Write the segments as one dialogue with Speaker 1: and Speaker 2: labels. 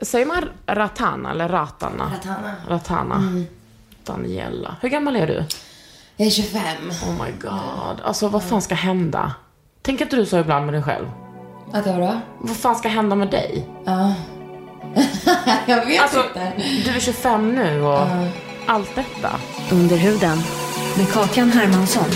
Speaker 1: Säger man Ratana eller Ratana? Ratana. Ratana. Daniela. Hur gammal är du?
Speaker 2: Jag är 25.
Speaker 1: Oh my god. Alltså vad fan ska hända? Tänker inte du så ibland med dig själv?
Speaker 2: Att vadå?
Speaker 1: Vad fan ska hända med dig?
Speaker 2: Ja. jag vet
Speaker 1: Alltså,
Speaker 2: inte.
Speaker 1: du är 25 nu och allt detta.
Speaker 3: Under huden med Kakan Hermansson.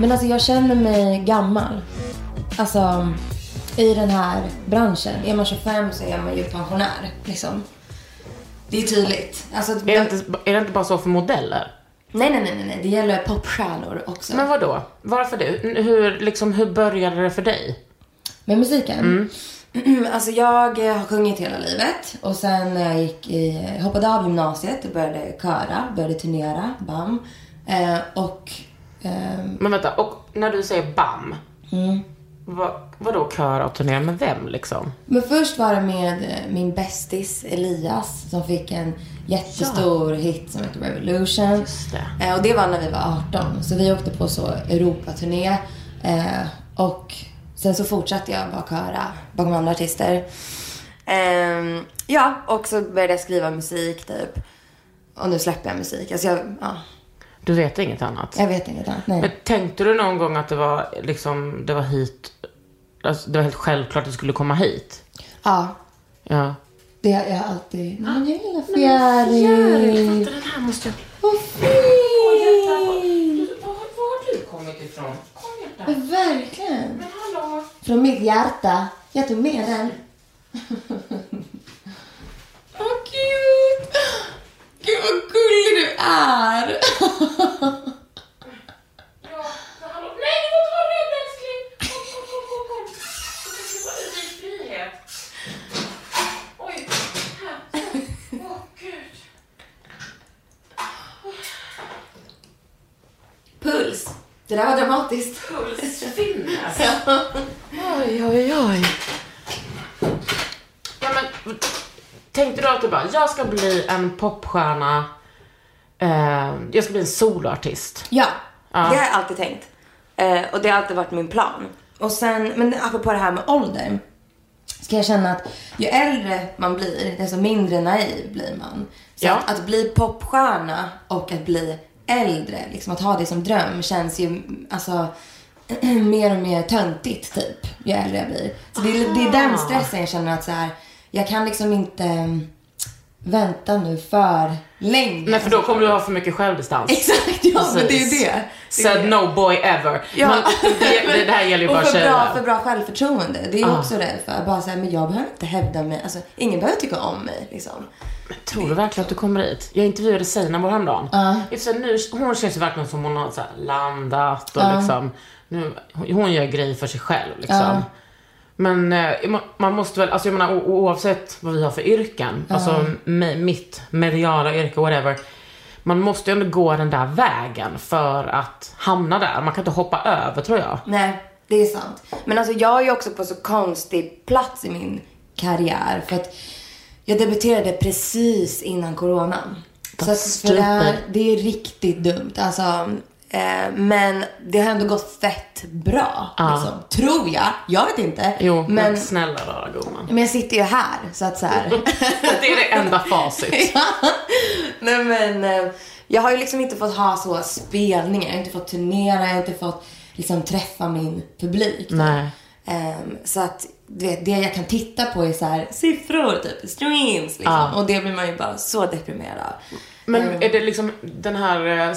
Speaker 2: Men alltså jag känner mig gammal. Alltså i den här branschen. Är man 25 så är man ju pensionär. Liksom. Det är tydligt. Alltså,
Speaker 1: Är det, inte, är det inte bara så för modeller?
Speaker 2: Nej, nej, nej, nej, nej. Det gäller popstjärnor också.
Speaker 1: Men vad då? Varför du? Hur, liksom, hur började det för dig?
Speaker 2: Med musiken?
Speaker 1: Mm.
Speaker 2: alltså jag eh, har sjungit hela livet och sen när jag gick i, hoppade av gymnasiet och började köra, började turnera, bam. Eh, och ehm,
Speaker 1: Men vänta, och när du säger BAM. Vad, vadå köra och turnera med vem liksom?
Speaker 2: Men först var det med eh, min bästis Elias som fick en jättestor hit som heter Revolution.
Speaker 1: Just det.
Speaker 2: Eh, och det var när vi var 18. Så vi åkte på så Europaturné. Eh, och sen så fortsatte jag bara köra bakom andra artister. Ehm, ja, och så började jag skriva musik typ. Och nu släpper jag musik. Alltså jag, ja,
Speaker 1: Du vet inget annat?
Speaker 2: jag vet inget annat.
Speaker 1: Men
Speaker 2: Nej.
Speaker 1: tänkte du någon gång att det var liksom, det var hit, alltså, det var helt självklart att du skulle komma hit?
Speaker 2: Ja,
Speaker 1: Ja.
Speaker 2: det har jag alltid.
Speaker 1: Ah,
Speaker 2: Nej, men jag gillar fjäril.
Speaker 1: Den här måste jag...
Speaker 2: Vad fint!
Speaker 1: Var har du kommit ifrån? Kom hjärta.
Speaker 2: Men verkligen.
Speaker 1: Hallå.
Speaker 2: Från mitt hjärta. Jag tog med den. Vad cute! Gud vad gullig du är!
Speaker 1: Hallå. Nej, du får ta den älskling. Kom, kom, kom, kom, kom. Du ska vara i frihet. Oj. Här. Åh, gud.
Speaker 2: Puls. Det där var dramatiskt.
Speaker 1: Pulsfinnas. Oj, oj, oj. Ja, men, tänkte du att du bara, jag ska bli en popstjärna, eh, jag ska bli en soloartist.
Speaker 2: Ja,
Speaker 1: Ja.
Speaker 2: det har jag alltid tänkt. Eh, och det har alltid varit min plan. Och sen, men apropå det här med ålder. Ska jag känna att ju äldre man blir, desto mindre naiv blir man. Så
Speaker 1: Ja.
Speaker 2: att, att bli popstjärna och att bli äldre, liksom att ha det som dröm känns ju alltså mer och mer töntigt typ, ju äldre jag blir. Så det, är- det är
Speaker 1: Ah.
Speaker 2: den stressen jag känner att så här, jag kan liksom inte mm, vänta nu för länge. Alltså,
Speaker 1: Nej, för då kommer du ha för mycket självdistans.
Speaker 2: Exakt, ja men det är ju
Speaker 1: Precis.
Speaker 2: det. det. är
Speaker 1: Said
Speaker 2: det.
Speaker 1: no boy ever.
Speaker 2: Ja.
Speaker 1: Man, det, det, det här gäller ju bara
Speaker 2: och för bra, för
Speaker 1: tjejer.
Speaker 2: bra självförtroende. Det är jag
Speaker 1: Ah.
Speaker 2: också rädd för. Bara så här, men jag behöver inte hävda mig. Alltså, ingen behöver tycka om mig. Liksom.
Speaker 1: Tror du verkligen att du kommer dit? Jag intervjuade Seinabo häromdagen. Uh. Nu, hon känns ju verkligen som hon har så här landat och liksom, nu, hon gör grejer för sig själv liksom. Men eh, ma- man måste väl, alltså jag menar o- oavsett vad vi har för yrken, alltså mi- mitt mediala yrke, whatever. Man måste ju ändå gå den där vägen för att hamna där. Man kan inte hoppa över tror jag.
Speaker 2: Nej, det är sant. Men alltså, jag är ju också på så konstig plats i min karriär. För att jag debuterade precis innan coronan. Så att för det, här,
Speaker 1: stupid.
Speaker 2: det är riktigt dumt. Alltså, Eh, men det har ändå gått fett bra.
Speaker 1: Ja.
Speaker 2: Liksom. Tror jag. Jag vet inte.
Speaker 1: Ah. Jo, men,
Speaker 2: men,
Speaker 1: snälla rara gumman.
Speaker 2: men jag sitter ju här. Så att så här.
Speaker 1: Det är det enda facit.
Speaker 2: Nej men eh, jag har ju liksom inte fått ha så spelningar. Jag har inte fått turnera. Jag har inte fått liksom träffa min publik.
Speaker 1: Nej.
Speaker 2: Ehm, så att du vet, det jag kan titta på är så här, siffror, typ streams. Liksom.
Speaker 1: Ja.
Speaker 2: Och det blir man ju bara så deprimerad av.
Speaker 1: Men är det liksom den här eh,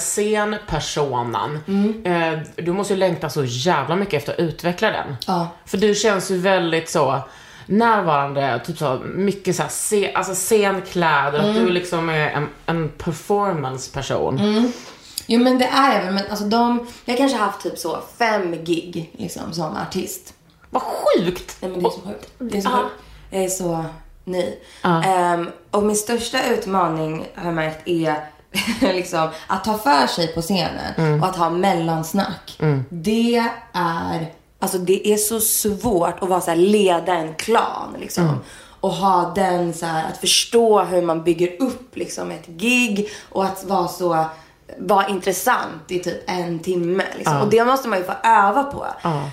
Speaker 1: scenpersonan, eh, du måste ju längta så jävla mycket efter att utveckla den.
Speaker 2: Ja.
Speaker 1: För du känns ju väldigt så närvarande, typ så mycket så här, se, alltså scenkläder, att du liksom är en, en performance-person.
Speaker 2: Jo men det är jag väl, men alltså de, jag kanske har haft typ så fem gig liksom som artist.
Speaker 1: Vad sjukt!
Speaker 2: Nej men det är så sjukt. Det är så
Speaker 1: Ja.
Speaker 2: sjukt. Jag är så ny.
Speaker 1: Ja.
Speaker 2: Ehm, och min största utmaning har jag märkt är liksom att ta för sig på scenen och att ha mellansnack. Det är, alltså det är så svårt att vara så här, leda en klan liksom. Och ha den så här, att förstå hur man bygger upp liksom ett gig och att vara så vara intressant i typ en timme. Liksom. Och det måste man ju få öva på.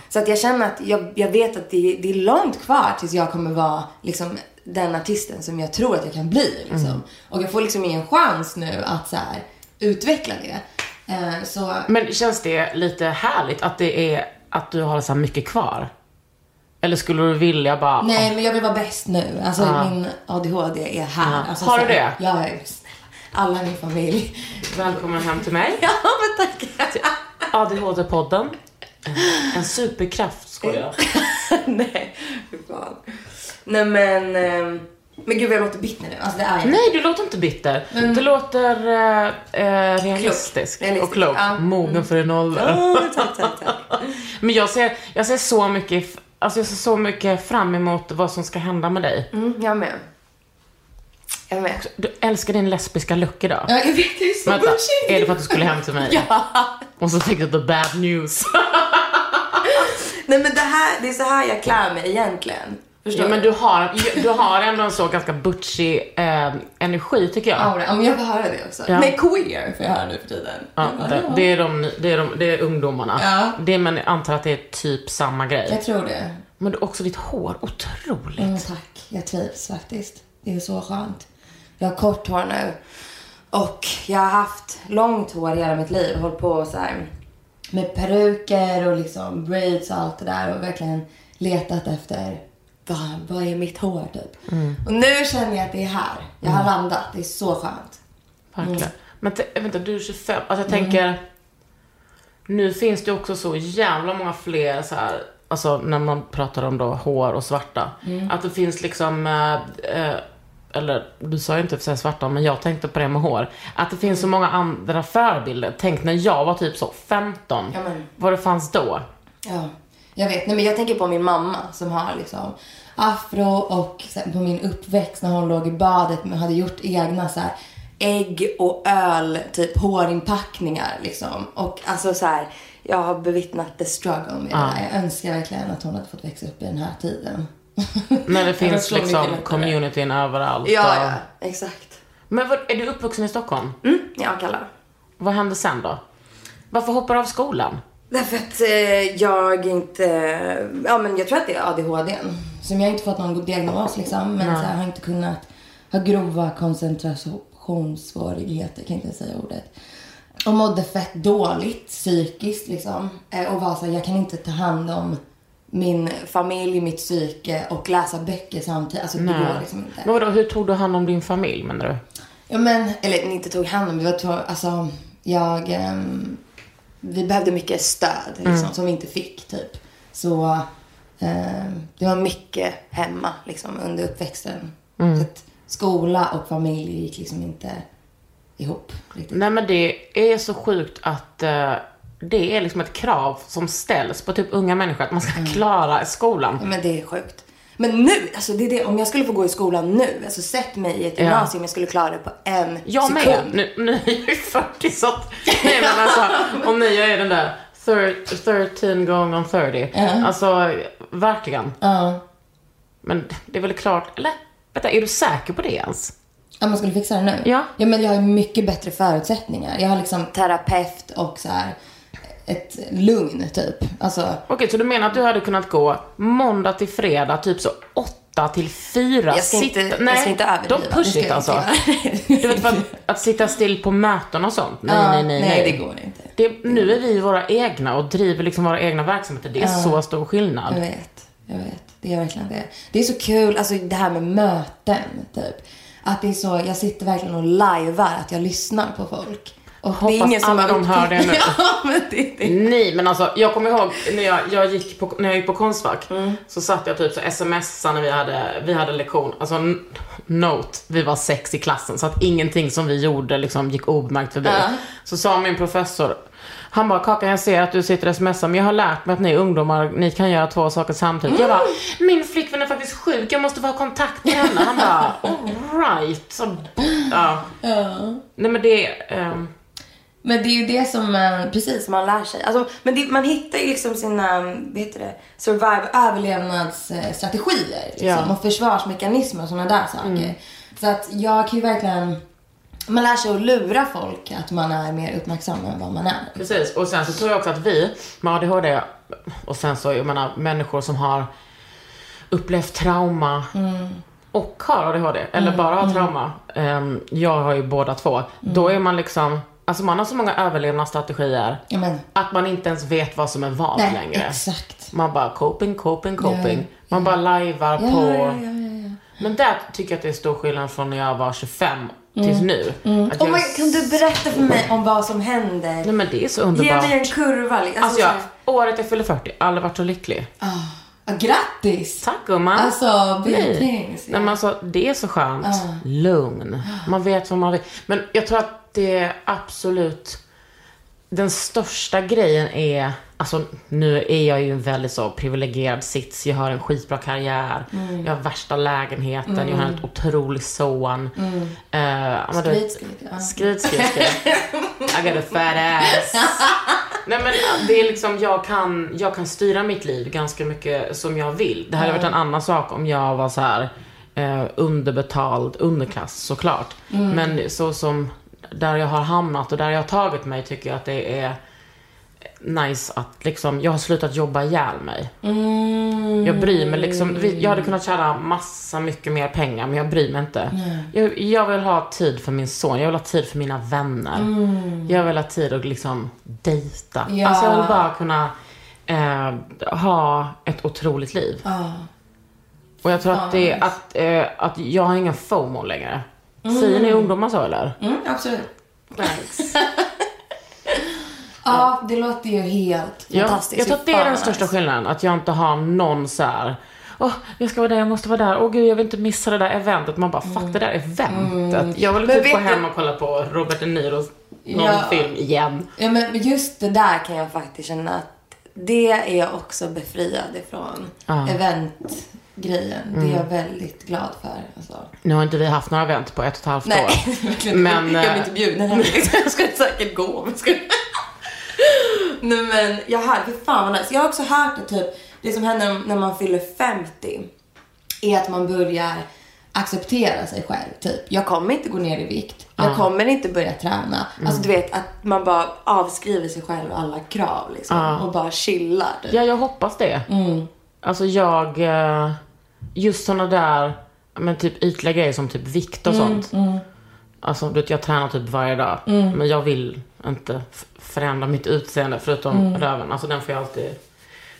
Speaker 2: Så att jag känner att jag, jag vet att det, det är långt kvar tills jag kommer vara liksom, den artisten som jag tror att jag kan bli. Liksom.
Speaker 1: Mm.
Speaker 2: Och jag får liksom ingen chans nu att så här, utveckla det. Eh, så
Speaker 1: Men känns det lite härligt att det är, att du har så här mycket kvar? Eller skulle du vilja bara,
Speaker 2: nej, men jag vill vara bäst nu. Alltså min ADHD är här.
Speaker 1: Ja.
Speaker 2: Alltså,
Speaker 1: Har du
Speaker 2: så här,
Speaker 1: det?
Speaker 2: Ja, snälla. Alla i min familj.
Speaker 1: välkommen hem till mig?
Speaker 2: Ja, men tack.
Speaker 1: ADHD-podden. Eh, En superkraft, skojar
Speaker 2: nej, fy fan. Nej men, ehm, men gud vad jag låter bitter nu. Alltså det är jag inte.
Speaker 1: Nej, du låter inte bitter. Du låter eh, eh, realistisk och
Speaker 2: Realistisk,
Speaker 1: klok.
Speaker 2: ja.
Speaker 1: Mogen för en ålder.
Speaker 2: Åh, tack, tack, tack.
Speaker 1: Men jag ser, jag ser så mycket f- Alltså jag ser så mycket fram emot vad som ska hända med dig.
Speaker 2: Mm, jag med. Jag med.
Speaker 1: Du älskar din lesbiska look idag.
Speaker 2: Ja, jag vet, det är så
Speaker 1: Vänta,
Speaker 2: bullshit.
Speaker 1: är det för att du skulle hem till mig?
Speaker 2: Ja.
Speaker 1: Och så tänkte jag the bad news.
Speaker 2: Nej men det här, det är så här jag klär mig egentligen. Förstår
Speaker 1: Ja, men
Speaker 2: du?
Speaker 1: du har, du har ändå en så ganska butchig eh, energi tycker jag.
Speaker 2: Aura. Ja, men jag får höra det också.
Speaker 1: Ja.
Speaker 2: Nej, queer får jag höra nu för tiden.
Speaker 1: Ja,
Speaker 2: Jag bara,
Speaker 1: det,
Speaker 2: ja.
Speaker 1: det, är de, det, är de, det är ungdomarna.
Speaker 2: Ja.
Speaker 1: Det, men jag antar att det är typ samma grej.
Speaker 2: Jag tror det.
Speaker 1: Men du, också ditt hår, otroligt.
Speaker 2: Mm, tack, jag trivs faktiskt. Det är så skönt. Jag har kort hår nu. Och jag har haft långt hår hela mitt liv. Hållit på så här med peruker och liksom braids och allt det där. Och verkligen letat efter vad, vad är mitt hår typ. Och nu känner jag att det är här. Jag har landat. Det är så skönt.
Speaker 1: Verkligen.
Speaker 2: Mm.
Speaker 1: Men t- vänta, du är 25. Alltså jag tänker, nu finns det ju också så jävla många fler så här, alltså när man pratar om då hår och svarta.
Speaker 2: Mm.
Speaker 1: Att det finns liksom, eh, eh, eller du sa ju inte för sig svarta, men jag tänkte på det med hår. Att det finns så många andra förebilder. Tänk när jag var typ så 15,
Speaker 2: Ja, men.
Speaker 1: vad det fanns då.
Speaker 2: Ja, jag vet. Nej, men jag tänker på min mamma som har liksom afro och sen på min uppväxt när hon låg i badet men hade gjort egna så här ägg och öl, typ hårinpackningar liksom. Och alltså så här, jag har bevittnat the struggle med
Speaker 1: Ah.
Speaker 2: det där. Jag önskar verkligen att hon hade fått växa upp i den här tiden.
Speaker 1: När det
Speaker 2: Jag tror
Speaker 1: finns
Speaker 2: så mycket
Speaker 1: liksom
Speaker 2: lättare.
Speaker 1: communityn överallt.
Speaker 2: Ja,
Speaker 1: och-
Speaker 2: ja, exakt.
Speaker 1: Men vad, är du uppvuxen i Stockholm?
Speaker 2: Mm, jag kallar.
Speaker 1: Vad hände sen då? Varför hoppar du av skolan?
Speaker 2: Därför att eh, jag inte... Ja, men jag tror att det är ADHD. Som jag inte fått någon diagnos liksom. Men så här, har inte kunnat... Har grova koncentrationssvårigheter, kan inte ens säga ordet. Och mådde fett dåligt psykiskt liksom. Eh, och var så här, jag kan inte ta hand om min familj, mitt psyke och läsa böcker samtidigt. Alltså det går liksom inte.
Speaker 1: Mm. Men vadå, hur tog du hand om din familj menar du?
Speaker 2: Ja, men, eller inte tog hand om, det var två, alltså jag, ehm, vi behövde mycket stöd liksom,
Speaker 1: Mm.
Speaker 2: som vi inte fick typ. Så ehm, det var mycket hemma liksom under uppväxten.
Speaker 1: Mm.
Speaker 2: Så att skola och familj gick liksom inte ihop riktigt.
Speaker 1: Nej men det är så sjukt att eh, det är liksom ett krav som ställs på typ unga människor att man ska
Speaker 2: Mm.
Speaker 1: klara skolan.
Speaker 2: Ja, Men det är sjukt. Men nu, alltså det är det, om jag skulle få gå i skolan nu, alltså sätt mig i ett gymnasium, jag skulle klara det på en
Speaker 1: Jag
Speaker 2: sekund.
Speaker 1: med. Nu, nu är jag ju 40 så att, Nej men alltså, om ni jag är den där thir- 13 gånger 30. Alltså, verkligen.
Speaker 2: Ja.
Speaker 1: Men det är väl klart, eller? Vänta, är du säker på det ens?
Speaker 2: Ja, man skulle fixa det nu?
Speaker 1: Ja.
Speaker 2: ja men jag har ju mycket bättre förutsättningar. Jag har liksom terapeut och så här ett lugn typ. Alltså,
Speaker 1: Okej, så du menar att du hade kunnat gå måndag till fredag, typ så 8 till 4?
Speaker 4: Jag ska inte- jag ska inte överdriva.
Speaker 1: Don't
Speaker 4: Det
Speaker 1: push
Speaker 2: ska
Speaker 1: it
Speaker 2: jag
Speaker 1: alltså.
Speaker 2: inte göra.
Speaker 1: Du vet, för att, att sitta still på möten och sånt. Nej,
Speaker 2: ja,
Speaker 1: nej, nej, nej.
Speaker 2: det går inte.
Speaker 1: Det, nu är vi våra egna och driver liksom våra egna verksamheter. Det är så stor skillnad.
Speaker 2: Jag vet, jag vet. Det är verkligen det. Det är så kul, alltså det här med möten typ. Att det är så, jag sitter verkligen och lajvar att jag lyssnar på folk. Och det
Speaker 1: Hoppas alla
Speaker 2: har
Speaker 1: de hör det nu.
Speaker 2: ja, men det, det.
Speaker 1: Nej men alltså jag kommer ihåg när jag, jag, gick, på, när jag gick på Konstfack så satt jag typ så smsade när vi hade, vi hade lektion. Alltså n- note, vi var sex i klassen så att ingenting som vi gjorde liksom gick obemärkt förbi. Så sa min professor, han bara Kakan jag ser att du sitter och smsar men jag har lärt mig att ni ungdomar, ni kan göra två saker samtidigt. Jag bara, min flickvän är faktiskt sjuk, jag måste få ha kontakt med henne. Han bara, alright. Så, ja. Nej men det, ehm,
Speaker 2: Men det är ju det som, eh,
Speaker 4: Precis, man lär sig. Alltså, men det, man hittar ju liksom sina, vad heter det, survive,
Speaker 2: överlevnadsstrategier liksom,
Speaker 1: Ja. Mm.
Speaker 2: och försvarsmekanismer och sådana där saker. Så att jag kan ju verkligen, man lär sig att lura folk att man är mer uppmärksam än vad man är.
Speaker 1: Precis, och sen så tror jag också att vi med ADHD och sen så, jag menar människor som har upplevt trauma
Speaker 2: Mm.
Speaker 1: och har ADHD, eller bara har trauma. ehm, jag har ju båda två.
Speaker 2: Mm.
Speaker 1: Då är man liksom, alltså man har så många överlevnadsstrategier
Speaker 2: Ja, men,
Speaker 1: att man inte ens vet vad som är vad
Speaker 2: nej,
Speaker 1: längre.
Speaker 2: exakt.
Speaker 1: Man bara coping, coping, coping.
Speaker 2: Ja,
Speaker 1: Man bara lajvar
Speaker 2: Ja,
Speaker 1: på.
Speaker 2: ja, ja, ja, ja.
Speaker 1: Men där tycker jag att det är stor skillnad från när jag var 25 tills
Speaker 2: Mm.
Speaker 1: nu. Att
Speaker 4: Oh
Speaker 1: jag
Speaker 4: my,
Speaker 1: är s-
Speaker 4: kan du berätta för mig om vad som händer?
Speaker 1: Nej men det är så
Speaker 4: Ge
Speaker 1: underbart.
Speaker 4: mig en kurva. Liksom.
Speaker 1: Alltså
Speaker 4: Alltså,
Speaker 1: jag,
Speaker 4: så här.
Speaker 1: året jag fyller 40, aldrig varit så lycklig.
Speaker 2: Ah, ah, grattis!
Speaker 1: Tack gumman.
Speaker 2: Alltså, big
Speaker 1: Nej.
Speaker 2: things.
Speaker 1: Nej, men alltså, det är så skönt. Lugn. Man vet vad man vill. Men jag tror att det är absolut den största grejen är, alltså nu är jag ju i en väldigt så privilegierad sits. Jag har en skitbra karriär.
Speaker 2: Mm.
Speaker 1: Jag har värsta lägenheten. Jag har en otrolig son. Mm. Uh,
Speaker 2: Skryt, skryt, ja.
Speaker 1: skryt, skryt, skryt. I got a fat ass. Nej men det är liksom, jag kan, jag kan styra mitt liv ganska mycket som jag vill. Det hade varit en annan sak om jag var så här eh, underbetald underklass såklart. Men så som där jag har hamnat och där jag har tagit mig tycker jag att det är nice att liksom, jag har slutat jobba ihjäl mig.
Speaker 2: mm.
Speaker 1: Jag bryr mig liksom, vi- jag hade kunnat tjäna massa mycket mer pengar men jag bryr mig inte. Jag, jag vill ha tid för min son, jag vill ha tid för mina vänner. Jag vill ha tid att liksom dejta.
Speaker 2: Ja.
Speaker 1: Alltså jag vill bara kunna eh, ha ett otroligt liv.
Speaker 2: Ah.
Speaker 1: Och jag tror att det är att, eh, att jag har ingen FOMO längre. Säger ni ungdomar så eller?
Speaker 2: Mm, absolut. Ja, det låter ju helt
Speaker 1: Ja,
Speaker 2: fantastiskt. alltså.
Speaker 1: jag tror att det är den största
Speaker 2: skillnaden.
Speaker 1: skillnaden, att jag inte har någon så här. Åh, jag ska vara där, jag måste vara där. Åh gud, jag vill inte missa det där eventet. Man bara, fuck det där eventet. Jag vill typ
Speaker 2: Mm. vet
Speaker 1: gå
Speaker 2: du-
Speaker 1: hem och kolla på Robert De Niros någon
Speaker 2: Ja.
Speaker 1: film igen.
Speaker 2: Ja, men just det där kan
Speaker 4: kan
Speaker 2: jag...
Speaker 4: jag faktiskt känna att det är jag också befriad ifrån.
Speaker 1: Ja. Mm.
Speaker 2: Eventgrejen, det är jag väldigt glad för. Alltså.
Speaker 1: Nu har inte vi haft några event på ett och ett halvt
Speaker 2: Nej,
Speaker 1: år.
Speaker 2: verkligen.
Speaker 1: Men,
Speaker 2: jag blir
Speaker 1: eh,
Speaker 2: inte bjuden heller.
Speaker 4: Jag skulle säkert gå om jag skulle... Nej men jag hör, fy fan vad nice. Jag har också hört det typ, det som händer om- när man fyller 50
Speaker 2: är att man börjar acceptera sig själv. Typ, jag kommer inte gå ner i vikt. Jag kommer inte börja träna.
Speaker 1: Mm.
Speaker 4: Alltså du vet att man bara avskriver sig själv alla krav liksom och bara chillar. typ.
Speaker 1: Ja, jag hoppas det. Alltså jag, eh, just såna där, men typ ytliga grejer som typ vikt och sånt. Alltså du vet, jag tränar typ varje dag. Men jag vill inte f- förändra mitt utseende förutom röven. Alltså den får jag alltid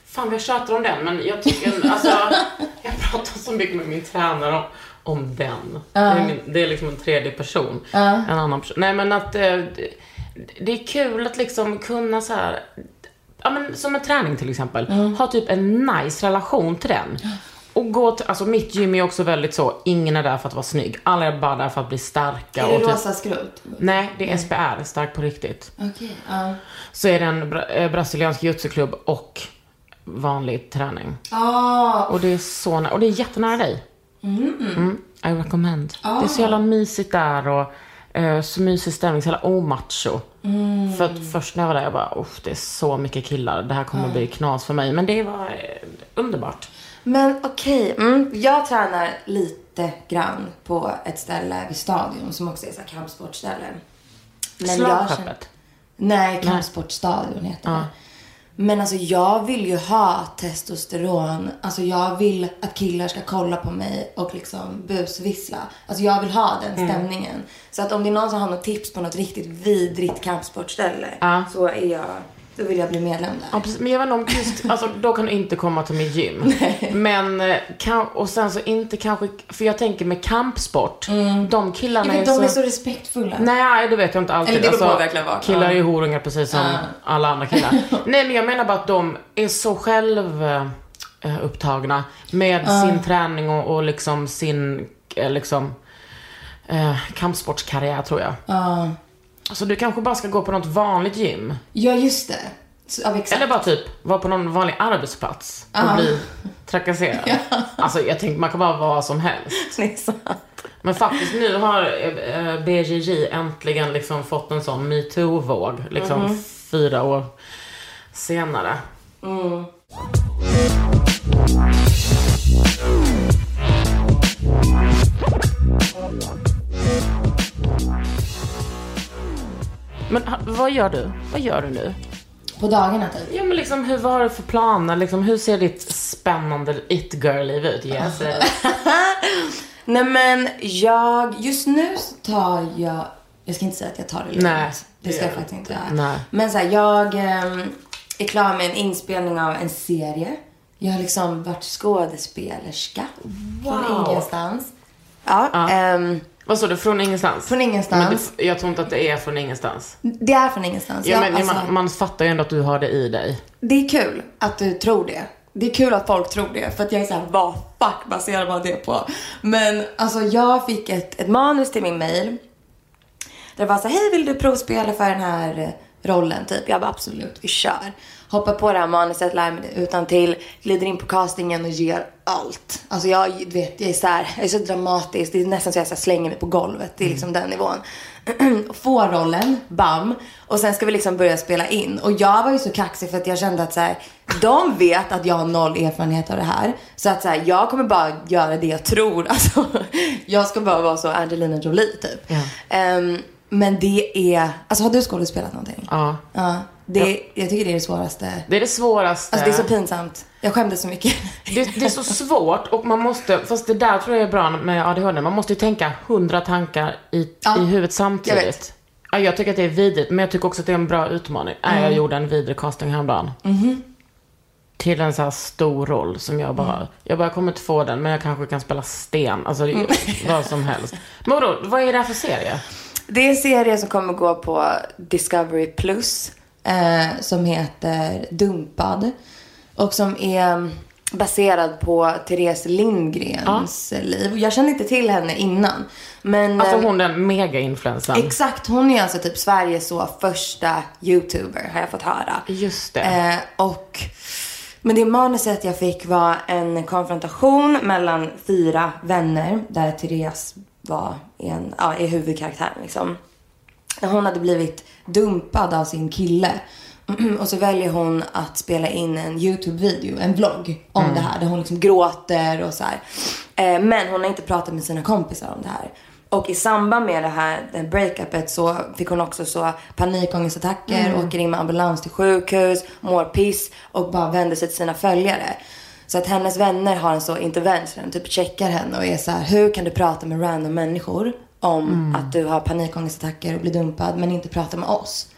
Speaker 1: Fan vad jag tjatar om den men jag tycker, alltså jag pratar så mycket med min tränare om, om den. Det, är min, det är liksom en tredje person. En annan person. Nej men att eh, det, det är kul att liksom kunna så här ja, men som en träning till exempel, ha typ en nice relation till den. Och gå till, alltså mitt gym är också väldigt så, ingen är där för att vara snygg, alla är bara där för att bli starka.
Speaker 2: Är det
Speaker 1: typ,
Speaker 2: rosa skrot?
Speaker 1: nej, det är SPR, stark på riktigt.
Speaker 2: Okej, ja.
Speaker 1: Så är det en bra, eh, brasiliansk jujutsu-klubb och vanlig träning.
Speaker 2: Ah,
Speaker 1: Och det är så nä- och det är jättenära dig. Mm, I recommend.
Speaker 2: Ah.
Speaker 1: Det är så jävla mysigt där och eh, så mysig stämning, så jävla omacho.
Speaker 2: Mm.
Speaker 1: För att först när jag var där, jag bara, uff det är så mycket killar, det här kommer
Speaker 2: Ah.
Speaker 1: bli knas för mig. Men det var eh, underbart.
Speaker 2: Men okej, mm, jag tränar lite grann på ett ställe vid stadion som också är så här kampsportställe. Men jag
Speaker 1: Slagskeppet.
Speaker 2: känner- Nej, kampsportstadion heter det. Men alltså jag vill ju ha testosteron. Alltså jag vill att killar ska kolla på mig och liksom busvissla. Alltså jag vill ha den
Speaker 1: Mm.
Speaker 2: stämningen. Så att om det är någon som har något tips på något riktigt vidrigt kampsportställe
Speaker 1: Ja.
Speaker 2: så är jag, då vill jag bli medlem där.
Speaker 1: Ja, precis. Men jag vet inte om just, alltså då kan du inte komma till mitt gym. Men, eh, kan, och sen så inte kanske, för jag tänker med kampsport, de killarna
Speaker 2: Jag vet,
Speaker 1: är,
Speaker 2: Mm. de
Speaker 1: så,
Speaker 2: är så respektfulla.
Speaker 1: Nej, det vet jag inte alltid. Alltså,
Speaker 4: Eller det beror på verkligen vad.
Speaker 1: killar är
Speaker 4: Ja.
Speaker 1: ju horungar precis som alla andra killar. Nej, men jag menar bara att de är så själv eh, upptagna med sin träning och, och liksom sin, eh, liksom, eh, kampsportskarriär tror jag.
Speaker 2: Ja.
Speaker 1: Så du kanske bara ska gå på något vanligt gym.
Speaker 2: Ja, just det. Så, ja, exakt.
Speaker 1: Eller bara typ vara på någon vanlig arbetsplats och bli trakasserad. Alltså jag tänkte man kan bara vara vad som helst.
Speaker 2: Det är sant.
Speaker 1: Men faktiskt nu har eh, eh, BJJ äntligen liksom fått en sån metoo-våg. Liksom fyra år senare. Men ha- vad gör du? Vad gör du nu?
Speaker 2: På dagarna typ.
Speaker 1: Ja men liksom hur, vad har du för planer? Liksom, hur ser ditt spännande it-girl-liv ut? Yes.
Speaker 2: Nej men jag, just nu så tar jag, jag ska inte säga att jag tar det lugnt.
Speaker 1: Nej,
Speaker 2: det
Speaker 1: det
Speaker 2: ska
Speaker 1: gör
Speaker 2: jag
Speaker 1: du
Speaker 2: faktiskt inte
Speaker 1: inte.
Speaker 2: göra.
Speaker 1: Nej.
Speaker 2: Men så här, jag ehm, är klar med en inspelning av en serie. Jag har liksom varit skådespelerska. Från ingenstans. Ja, ehm,
Speaker 1: Vad sa du? Från ingenstans?
Speaker 2: Från ingenstans.
Speaker 1: Men det, jag tror inte att det är från ingenstans.
Speaker 2: det är från ingenstans.
Speaker 1: Ja,
Speaker 2: Jag-
Speaker 1: men,
Speaker 2: alltså,
Speaker 1: man, man fattar ju ändå att du har det i dig.
Speaker 2: Det är kul.
Speaker 4: Att du tror det. Det är kul att folk tror det för att jag är såhär, vad fuck baserar man det på? Men
Speaker 2: Alltså jag fick ett, ett manus till min mail. Där det var så här, hej vill du provspela för den här eh, rollen? Typ. Jag bara absolut, vi kör. Hoppar på det här manuset, lär mig det utan till glider in på castingen och ger allt. Alltså jag, du vet, jag är så här, jag är så dramatisk. Det är nästan så jag så här, slänger mig på golvet. Det är liksom den nivån. Får rollen, bam. Och sen ska vi liksom börja spela in. Och jag var ju så kaxig för att jag kände att så här, de vet att jag har noll erfarenhet av det här. Så att så här, jag kommer bara göra det jag tror. Alltså, jag ska bara vara så Angelina Jolie typ.
Speaker 1: Ja.
Speaker 2: Ehm, men det är... Alltså har du skådespelat någonting?
Speaker 1: Ja.
Speaker 2: Ja. Det, Jag tycker det är det svåraste.
Speaker 1: Det är det svåraste.
Speaker 2: Alltså det är så pinsamt. Jag skämdes så mycket.
Speaker 1: det, det är så svårt och man måste, fast det där tror jag är bra med ADHD, man måste ju tänka hundra tankar i,
Speaker 2: Ja,
Speaker 1: i huvudet samtidigt.
Speaker 2: jag
Speaker 1: Jag,
Speaker 2: vet.
Speaker 1: ja, jag tycker att det är vidrigt, men jag tycker också att det är en bra utmaning. Nej,
Speaker 2: Mm.
Speaker 1: jag gjorde en vidrig casting häromdagen.
Speaker 2: Mm-hmm.
Speaker 1: Till en så här stor roll som jag bara,
Speaker 2: Mm.
Speaker 1: jag bara, jag kommer inte få den, men jag kanske kan spela sten. Alltså det, vad som helst. Men vadå, vad är det här för serie?
Speaker 2: Det är en serie som kommer gå på Discovery Plus. Eh, som heter Dumpad. Och som är mm, baserad på Therese Lindgrens liv. Jag kände inte till henne innan. Men,
Speaker 1: Alltså
Speaker 2: eh,
Speaker 1: hon den mega-influencern.
Speaker 2: Exakt, hon är alltså typ Sveriges så första youtuber har jag fått höra.
Speaker 1: Just det.
Speaker 2: Eh, och, men det manuset jag fick var en konfrontation mellan fyra vänner där Therese var en, ja, är huvudkaraktären liksom. Hon hade blivit dumpad av sin kille. Och så väljer hon att spela in en YouTube-video, en vlogg om
Speaker 1: Mm.
Speaker 2: det här. Där hon liksom gråter och så här. Eh, men hon har inte pratat med sina kompisar om det här. Och i samband med det här det här breakupet så fick hon också så panikångestattacker, åker in med ambulans till sjukhus, mår piss och bara vänder sig till sina följare. Så att hennes vänner har en så intervention, typ checkar henne och är så här, hur kan du prata med random människor om att du har panikångestattacker och blir dumpad men inte prata med oss?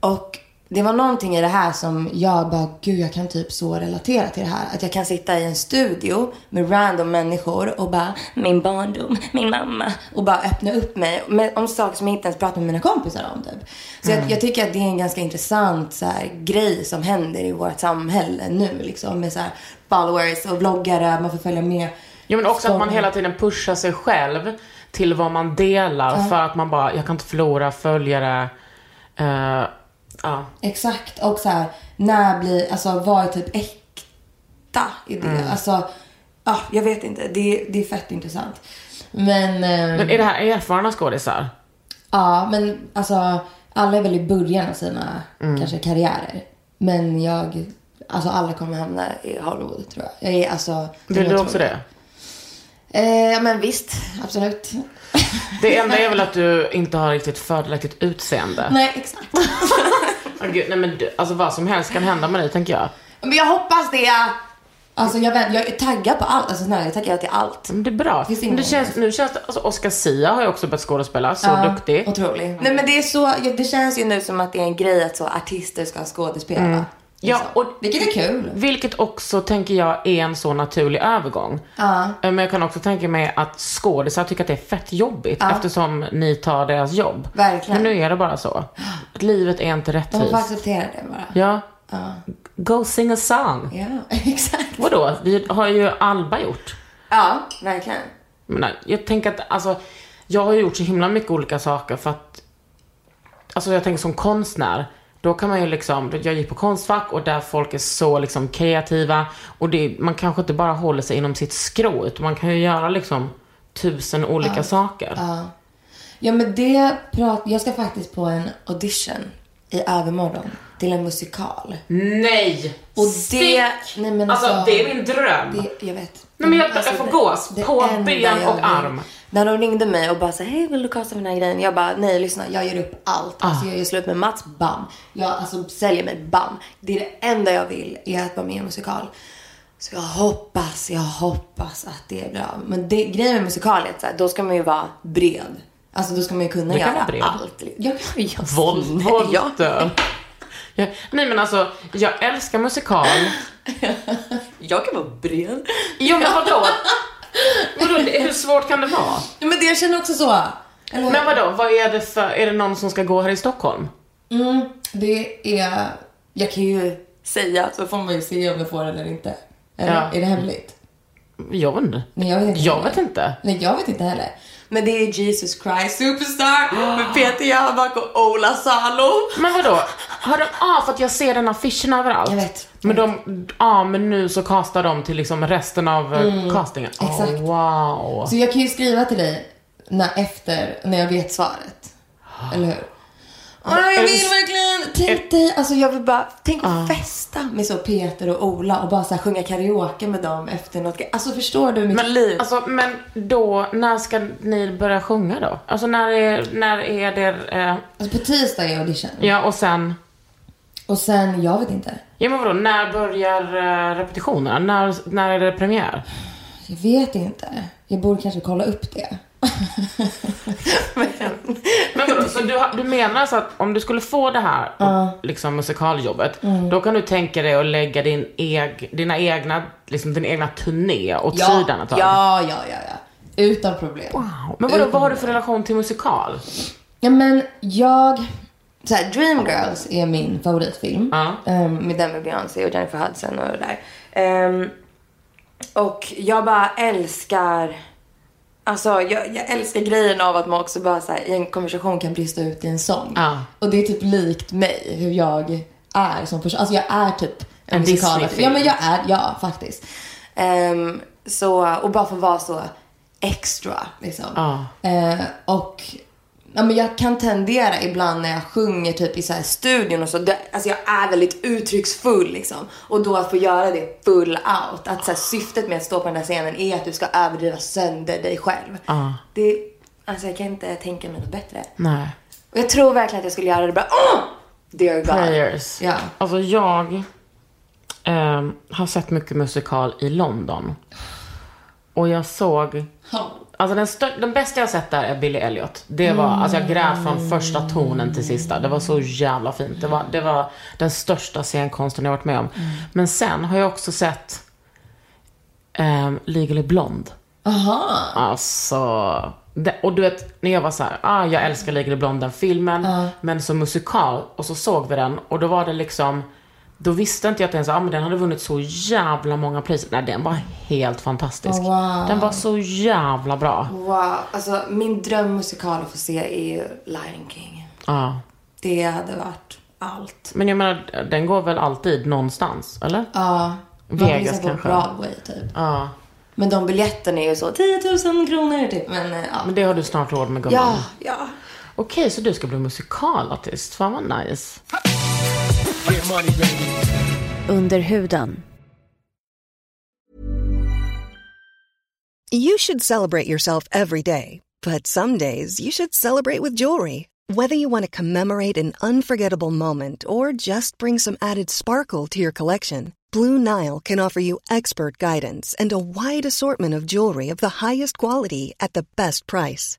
Speaker 2: Och det var någonting i det här som jag bara, gud jag kan typ så relatera till det här. Att jag kan sitta i en studio med random människor och bara, min barndom, min mamma. Och bara öppna upp mig med, om saker som jag inte ens pratar med mina kompisar om typ. Så
Speaker 1: Mm.
Speaker 2: jag, jag tycker att det är en ganska intressant så här, grej som händer i vårt samhälle nu liksom. Med så här, followers och vloggare, man får följa med.
Speaker 1: Ja men också att man
Speaker 2: Som-
Speaker 1: hela tiden pushar sig själv till vad man delar för att man bara, jag kan inte förlora följare. Eh, ja.
Speaker 2: Exakt. Och så här, när blir, alltså vad är typ äkta i det?
Speaker 1: Mm.
Speaker 2: Alltså, ja, jag vet inte. Det, det är fett intressant. Men, eh,
Speaker 1: Men är det här erfarna skådisar?
Speaker 2: ja, men alltså alla är väl i början av sina
Speaker 1: Mm.
Speaker 2: kanske karriärer. Men jag, alltså alla kommer hamna i Hollywood tror jag. Jag är alltså.
Speaker 1: Vill
Speaker 2: jag
Speaker 1: du
Speaker 2: tror-
Speaker 1: också det?
Speaker 2: Eh, men visst, absolut.
Speaker 1: Det enda är väl att du inte har riktigt fördelaktigt utseende.
Speaker 2: Nej, exakt.
Speaker 1: Åh, gud, nej men du, alltså vad som helst kan hända med dig tänker jag.
Speaker 2: Men jag hoppas det. Alltså jag, vänt, jag är taggad på allt. Alltså, nej, jag taggar till allt.
Speaker 1: Men det är bra.
Speaker 2: Finns
Speaker 1: Men det
Speaker 2: ingen-
Speaker 1: känns, nu känns det, alltså Oscar Sia har ju också börjat skådespela, så
Speaker 2: Ja,
Speaker 1: duktig.
Speaker 2: Otrolig. Nej men det är så, ja, det känns ju nu som att det är en grej att så artister ska skådespela.
Speaker 1: Mm.
Speaker 2: Liksom.
Speaker 1: Ja, och
Speaker 2: Vilket är kul.
Speaker 1: Vilket också tänker jag är en så naturlig övergång. Eh, Men jag kan också tänka mig att skådisar tycker att det är fett jobbigt eftersom ni tar deras jobb.
Speaker 2: Verkligen.
Speaker 1: Men nu är det bara så. Livet är inte
Speaker 2: De får
Speaker 1: rättvist.
Speaker 2: acceptera det bara.
Speaker 1: Ja. Go sing a song.
Speaker 2: Ja, exakt.
Speaker 1: Vadå? Vi har ju Alba gjort.
Speaker 2: Ja, verkligen.
Speaker 1: Jag menar, jag tänker att alltså, jag har ju gjort så himla mycket olika saker för att, alltså jag tänker som konstnär, då kan man ju liksom, jag gick på konstfack och där folk är så liksom kreativa och det, man kanske inte bara håller sig inom sitt skrå utan man kan ju göra liksom tusen olika saker.
Speaker 2: Ja men det prat, jag ska faktiskt på en audition i övermorgon till en musikal.
Speaker 1: Nej!
Speaker 2: Och
Speaker 1: Stick!
Speaker 2: det, nej men
Speaker 1: alltså,
Speaker 2: alltså,
Speaker 1: det är min dröm.
Speaker 2: det, jag vet. Alltså,
Speaker 1: Nej, men jag- jag får gås
Speaker 2: det
Speaker 1: på
Speaker 2: enda
Speaker 1: ben
Speaker 2: jag
Speaker 1: och
Speaker 2: vill-
Speaker 1: arm.
Speaker 2: När de ringde mig och bara så hej vill du casta för den här grejen? Jag bara, nej lyssna jag ger upp allt.
Speaker 1: Ah.
Speaker 2: Alltså jag gör slut med Mats, bam. Jag alltså säljer mig, bam. Det är det enda jag vill är att vara med i en musikal. Så jag hoppas, jag hoppas att det är bra. Men det, grejen med musikal är att så här, då ska man ju vara bred. Alltså då ska man ju kunna
Speaker 1: Du kan
Speaker 2: göra
Speaker 1: vara bred.
Speaker 2: allt. Jag kan jag,
Speaker 1: Våld,
Speaker 2: Ja.
Speaker 1: volter. Ja. Nej men alltså, jag älskar musikal.
Speaker 4: Jag kan vara bred.
Speaker 1: Ja men vadå? vadå? det- Hur svårt kan det vara?
Speaker 2: Ja, men det jag känner också så. Eller,
Speaker 1: Men vadå, vad är det för, är det någon som ska gå här i Stockholm?
Speaker 2: Mm, det är... Jag kan ju säga, så får man ju se om jag får den eller inte. Eller,
Speaker 1: Ja.
Speaker 2: Är det hemligt?
Speaker 1: Jag vet inte.
Speaker 2: Nej, jag vet inte.
Speaker 1: Jag
Speaker 2: heller.
Speaker 1: vet inte.
Speaker 2: Nej, jag vet inte heller.
Speaker 4: Men det är Jesus Christ Superstar med Peter Jöback och Ola Salo.
Speaker 1: Men vadå, hör de av för att jag ser den affischen överallt?
Speaker 2: Jag vet.
Speaker 1: Men de, ja men nu så castar de till liksom resten av eh, castingen.
Speaker 2: Mm. exakt.
Speaker 1: Oh, wow.
Speaker 2: Så jag kan ju skriva till dig när, efter, när jag vet svaret. Eller hur? Åh, jag
Speaker 1: Är
Speaker 2: vill
Speaker 1: det-
Speaker 2: verkligen! Tänk dig, alltså jag vill bara, tänk att festa med så Peter och Ola och bara så här sjunga karaoke med dem efter något. Alltså förstår du mitt liv?
Speaker 1: Alltså men då, när ska ni börja sjunga då? Alltså när är, när är det, eh,
Speaker 2: Alltså på tisdag är audition.
Speaker 1: ja och sen,
Speaker 2: Och sen, jag vet inte.
Speaker 1: ja men vadå, när börjar eh, repetitionerna? När, när är det premiär?
Speaker 2: Jag vet inte. Jag borde kanske kolla upp det.
Speaker 1: Men vadå, så du, har- du menar alltså att om du skulle få det här liksom musikaljobbet,
Speaker 2: Mm.
Speaker 1: då kan du tänka dig att lägga din eg, dina egna, liksom din egna turné åt sidan ett tag?
Speaker 2: ja, ja, ja, ja. Utan problem.
Speaker 1: Wow. Men vadå, vad har du för relation till musikal?
Speaker 2: Ja, men jag... Så här, Dreamgirls är min favoritfilm.
Speaker 1: Ja.
Speaker 2: Ehm, med den med Beyoncé och Jennifer Hudson och det där. Ehm, och jag bara älskar... Alltså jag, jag älskar grejen av att man också bara så här, i en konversation kan brista ut i en sång.
Speaker 1: Ja.
Speaker 2: Och det är typ likt mig, hur jag är som person. Alltså jag är typ en,
Speaker 1: En
Speaker 2: musikal.
Speaker 1: Disney-film.
Speaker 2: Ja men jag är, ja faktiskt. Ehm, så, och bara få vara så extra liksom.
Speaker 1: Ja.
Speaker 2: Eh, och ja, men jag kan tendera ibland när jag sjunger typ i så här studion och så. Det, alltså jag är väldigt uttrycksfull liksom. Och då att få göra det full out. Att så här, syftet med att stå på den där scenen är att du ska överdriva sönder dig själv.
Speaker 1: Ja.
Speaker 2: Det, alltså jag kan inte tänka mig något bättre.
Speaker 1: Nej.
Speaker 2: Och jag tror verkligen att jag skulle göra det bra. Oh! Dear God.
Speaker 1: Prayers.
Speaker 2: Ja.
Speaker 1: Alltså jag ehm, har sett mycket musikal i London. Och jag såg Alltså den, stör- den bästa jag sett där är Billy Elliot. Det var, alltså jag grät från första tonen till sista. Det var så jävla fint. Det var, det var den största scenkonsten jag varit med om. Men sen har jag också sett um, Legally Blonde.
Speaker 2: Aha.
Speaker 1: Alltså, det, och du vet när jag var så här, ah, jag älskar Legally Blonde den filmen, men som musikal, och så såg vi den och då var det liksom, då visste inte jag att den, så, ah, men den hade vunnit så jävla många priser. Nej, den var helt fantastisk.
Speaker 2: Oh, wow.
Speaker 1: Den var så jävla bra.
Speaker 2: Wow. Alltså min drömmusikal att få se är ju Lion King.
Speaker 1: Ja.
Speaker 2: Det hade varit allt.
Speaker 1: Men jag menar, den går väl alltid någonstans, eller?
Speaker 2: Ja.
Speaker 1: Vegas
Speaker 2: Man på
Speaker 1: kanske.
Speaker 2: Broadway typ.
Speaker 1: Ja.
Speaker 2: Men de biljetterna är ju så 10 000 kronor typ. Men eh, ja.
Speaker 1: Men det har du snart råd med gumman.
Speaker 2: Ja, ja.
Speaker 1: Okej, så du ska bli musikalartist. Fan vad nice.
Speaker 3: Under huden.
Speaker 5: You should celebrate yourself every day, But some days you should celebrate with jewelry. Whether you want to commemorate an unforgettable moment or just bring some added sparkle to your collection, Blue Nile can offer you expert guidance and a wide assortment of jewelry of the highest quality at the best price.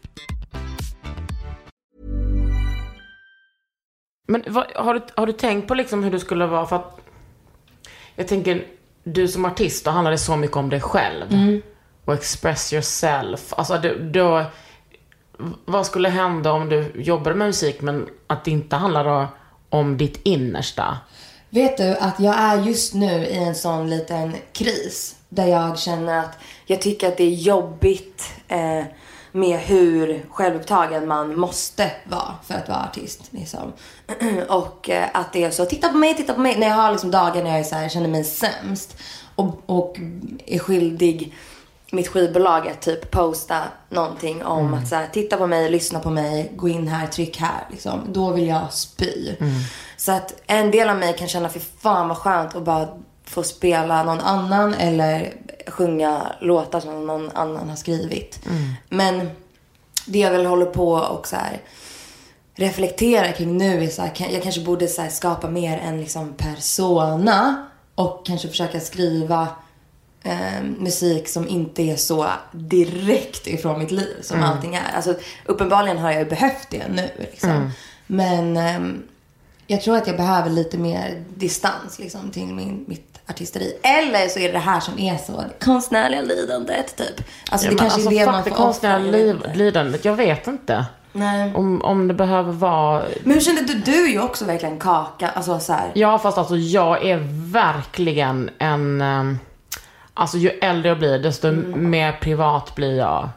Speaker 1: Men vad, har, du, har du tänkt på liksom hur du skulle vara? För att jag tänker, du som artist, då handlar det så mycket om dig själv.
Speaker 2: Mm.
Speaker 1: Och express yourself. Alltså, du, då, vad skulle hända om du jobbar med musik men att det inte handlar då om ditt innersta?
Speaker 2: Vet du att jag är just nu i en sån liten kris där jag känner att
Speaker 4: Jag tycker att det är jobbigt eh, med hur självupptagen man måste vara för att vara artist. Liksom. och eh, att det är så, titta på mig, titta på mig. När jag har liksom dagar när jag är så här, känner mig sämst och, och är skyldig mitt skivbolag att typ posta någonting om att så här, titta på mig, lyssna på mig, gå in här, tryck här. Liksom. Då vill jag spy. Så att en del av mig kan känna, för fan vad skönt att bara få spela någon annan eller sjunga låtar som någon annan har skrivit. Men det jag väl håller på och så här reflektera kring nu är så här, kan- jag kanske borde så här skapa mer en liksom persona och kanske försöka skriva eh, musik som inte är så direkt ifrån mitt liv som
Speaker 1: Mm.
Speaker 4: allting är. Alltså, uppenbarligen har jag ju behövt det nu. Liksom.
Speaker 1: Mm.
Speaker 2: Men ehm, jag tror att jag behöver lite mer distans liksom, till min, mitt artisteri. Eller så är det det här som är så det konstnärliga lidandet typ. Alltså det
Speaker 1: men
Speaker 2: kanske är det
Speaker 1: fuck
Speaker 2: man
Speaker 1: det
Speaker 2: får offra.
Speaker 1: konstnärliga
Speaker 2: jag vet
Speaker 1: liv,
Speaker 2: inte.
Speaker 1: lidandet. Jag vet inte.
Speaker 2: Nej.
Speaker 1: Om, om det behöver vara...
Speaker 2: Men hur kände du? Du är ju också verkligen kaka. Alltså så här.
Speaker 1: Ja, fast alltså jag är verkligen en... ehm, Alltså ju äldre jag blir, desto mer privat blir jag.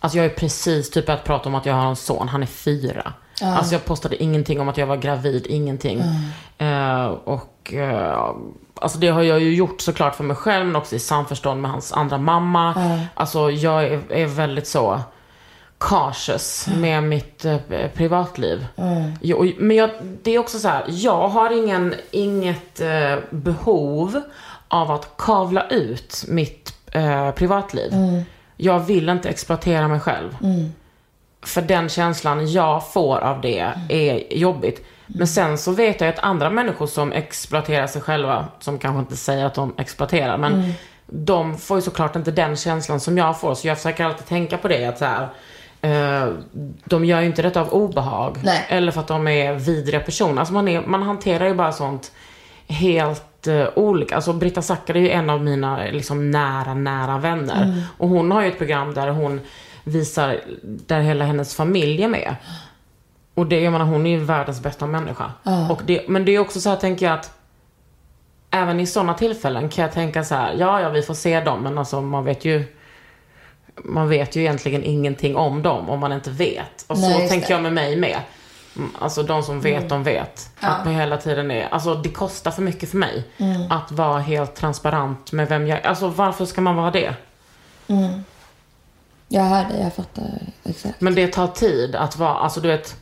Speaker 1: Alltså jag är precis typ att prata om att jag har en son, han är fyra. Alltså jag postade ingenting om att jag var gravid, ingenting. Eh, och eh, alltså det har jag ju gjort såklart för mig själv, men också i samförstånd med hans andra mamma. Alltså jag är, är väldigt så cautious med mitt eh, privatliv. Jo, och- men jag, det är också så här, jag har ingen, inget eh, behov av att kavla ut mitt eh, privatliv. Jag vill inte exploatera mig själv. För den känslan jag får av det är jobbigt. Men sen så vet jag att andra människor som exploaterar sig själva, som kanske inte säger att de exploaterar, men de får ju såklart inte den känslan som jag får. Så jag försöker alltid tänka på det. Att så här, eh, de gör ju inte detta av obehag.
Speaker 2: Nej.
Speaker 1: Eller för att de är vidriga personer. Alltså man, är, man hanterar ju bara sånt helt eh, olika. Alltså Britta Zackari är ju en av mina eh, liksom, nära, nära vänner. Och hon har ju ett program där hon visar, där hela hennes familj är med. Och det, jag menar, hon är ju världens bästa människa. Och det, men det är också så här, tänker jag att även i sådana tillfällen kan jag tänka så här, ja, ja, vi får se dem, men alltså man vet ju man vet ju egentligen ingenting om dem om man inte vet. Och
Speaker 2: Nej,
Speaker 1: så
Speaker 2: just
Speaker 1: tänker
Speaker 2: det.
Speaker 1: jag med mig med. Mm, Alltså de som vet, de vet. Att man hela tiden är, alltså det kostar för mycket för mig.
Speaker 2: Mm.
Speaker 1: Att vara helt transparent med vem jag, alltså varför ska man vara det?
Speaker 2: Jag hör dig, jag fattar exakt.
Speaker 1: Men det tar tid att vara, alltså du vet,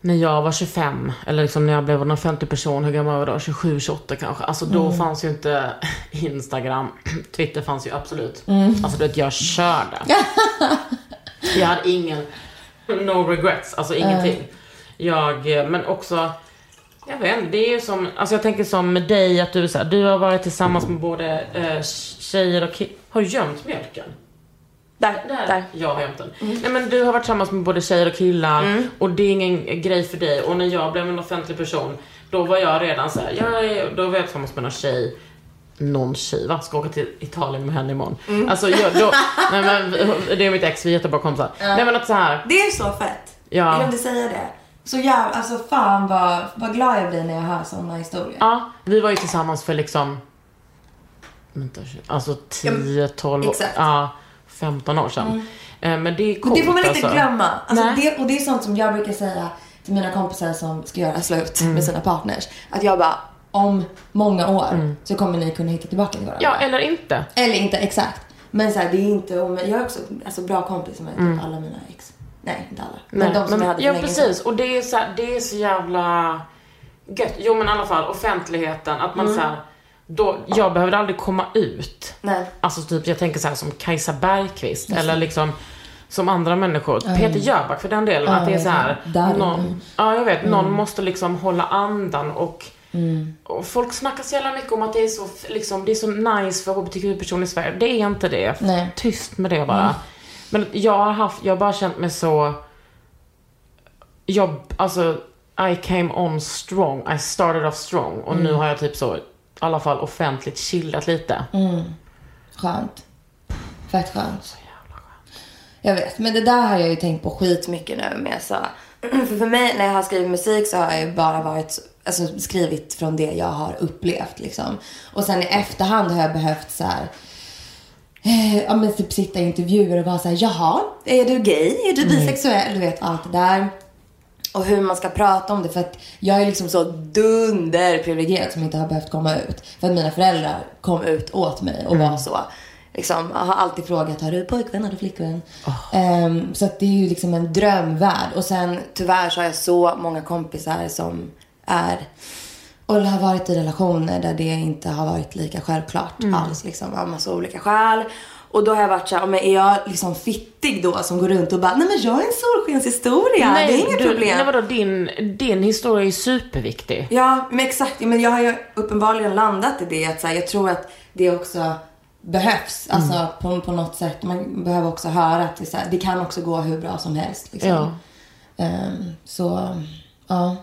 Speaker 1: när jag var 25, eller liksom när jag blev en offentlig person, hur gammal var jag då? 27, 28 kanske. Alltså då fanns ju inte Instagram, Twitter fanns ju absolut. Alltså du vet, jag körde. jag hade ingen, no regrets, alltså ingenting. Jag, eh, men också, jag vet inte, det är ju som, alltså jag tänker som med dig, att du är så här, du har varit tillsammans med både eh, tjejer och killar. Har du gömt mjölken?
Speaker 4: Där, där.
Speaker 1: Där. Jag har gömt den.
Speaker 2: Mm.
Speaker 1: Nej, men du har varit tillsammans med både tjejer och killar och det är ingen grej för dig. Och när jag blev en offentlig person, då var jag redan så här, jag är, då var jag tillsammans med någon tjej någon tjej va? Ska åka till Italien med henne imorgon.
Speaker 2: Mm.
Speaker 1: Alltså jag, då, nej men det är mitt ex, vi är jättebra kompisar. Nej men att så här,
Speaker 4: Det är så fett.
Speaker 1: Ja.
Speaker 4: Jag glömde säga det.
Speaker 2: Så jävla, alltså fan vad, vad glad jag blir när jag hör sådana historier.
Speaker 1: Ja, vi var ju tillsammans för liksom, vänta, alltså 10, 12,
Speaker 2: exakt. Mm.
Speaker 1: ja, 15 år sedan. Eh, Men det är coolt
Speaker 2: Men det får man inte
Speaker 1: alltså.
Speaker 2: glömma. Alltså
Speaker 1: Nej.
Speaker 2: det, och det är sånt som jag brukar säga till mina kompisar som ska göra slut
Speaker 1: Mm.
Speaker 2: med sina partners. Att jag bara, om många år så kommer ni kunna hitta tillbaka till varandra.
Speaker 1: Mm. Ja, eller inte.
Speaker 2: Eller inte exakt. Men så här, det är inte om Jag är också alltså, bra kompis med typ alla mina ex. Nej, inte alla. Men de som jag hade
Speaker 1: Mm.
Speaker 2: för
Speaker 1: Ja,
Speaker 2: länge sedan.
Speaker 1: precis. Och det är, så här, det är så jävla gött. Jo, men i alla fall offentligheten. Att man så här, då, jag behövde aldrig komma ut.
Speaker 2: Mm. Nej.
Speaker 1: Alltså typ, jag tänker så här som Kajsa Bergqvist eller liksom som andra människor. Peter Jöback för den delen. att det är så här,
Speaker 2: Darin.
Speaker 1: någon, ja jag vet, någon måste liksom hålla andan och, och folk snackar så jävla mycket om att det är så, f- liksom, det är så nice för hbtq-personer i Sverige. Det är inte det.
Speaker 2: Nej.
Speaker 1: Tyst med det bara. Men jag har haft, jag har bara känt mig så, jag, alltså I came on strong, I started off strong och nu har jag typ så, i alla fall offentligt chillat lite.
Speaker 2: Skönt. Fett skönt. Jag vet, men det där har jag ju tänkt på skitmycket nu med så. För, för mig när jag har skrivit musik så har jag ju bara varit, alltså skrivit från det jag har upplevt liksom. Och sen i efterhand har jag behövt så här. eh, Ja men typ sitta i intervjuer och vara såhär, jaha, är du gay? Är du bisexuell? Du vet allt det där. Och hur man ska prata om det. För att jag är liksom så dunderprivilegierad som inte har behövt komma ut. För att mina föräldrar kom ut åt mig och var så. Liksom, jag har alltid frågat, har du pojkvän, har du flickvän? Ehm, så att det är ju liksom en drömvärld. Och sen tyvärr så har jag så många kompisar som är och har varit i relationer där det inte har varit lika självklart alls. Liksom, av massa olika skäl. Och då har jag varit såhär, "Ja, men är jag liksom fittig då som går runt och bara, nej men jag är en solskenshistoria, det är inget
Speaker 1: du,
Speaker 2: problem.
Speaker 1: Nej vadå, din, din historia är ju superviktig.
Speaker 2: Ja, men exakt. Men jag har ju uppenbarligen landat i det. Att så här, jag tror att det också behövs.
Speaker 1: Mm.
Speaker 2: Alltså på, på något sätt. Man behöver också höra att det, är så här, det kan också gå hur bra som helst. Liksom.
Speaker 1: Ja.
Speaker 2: Ehm, så, ja.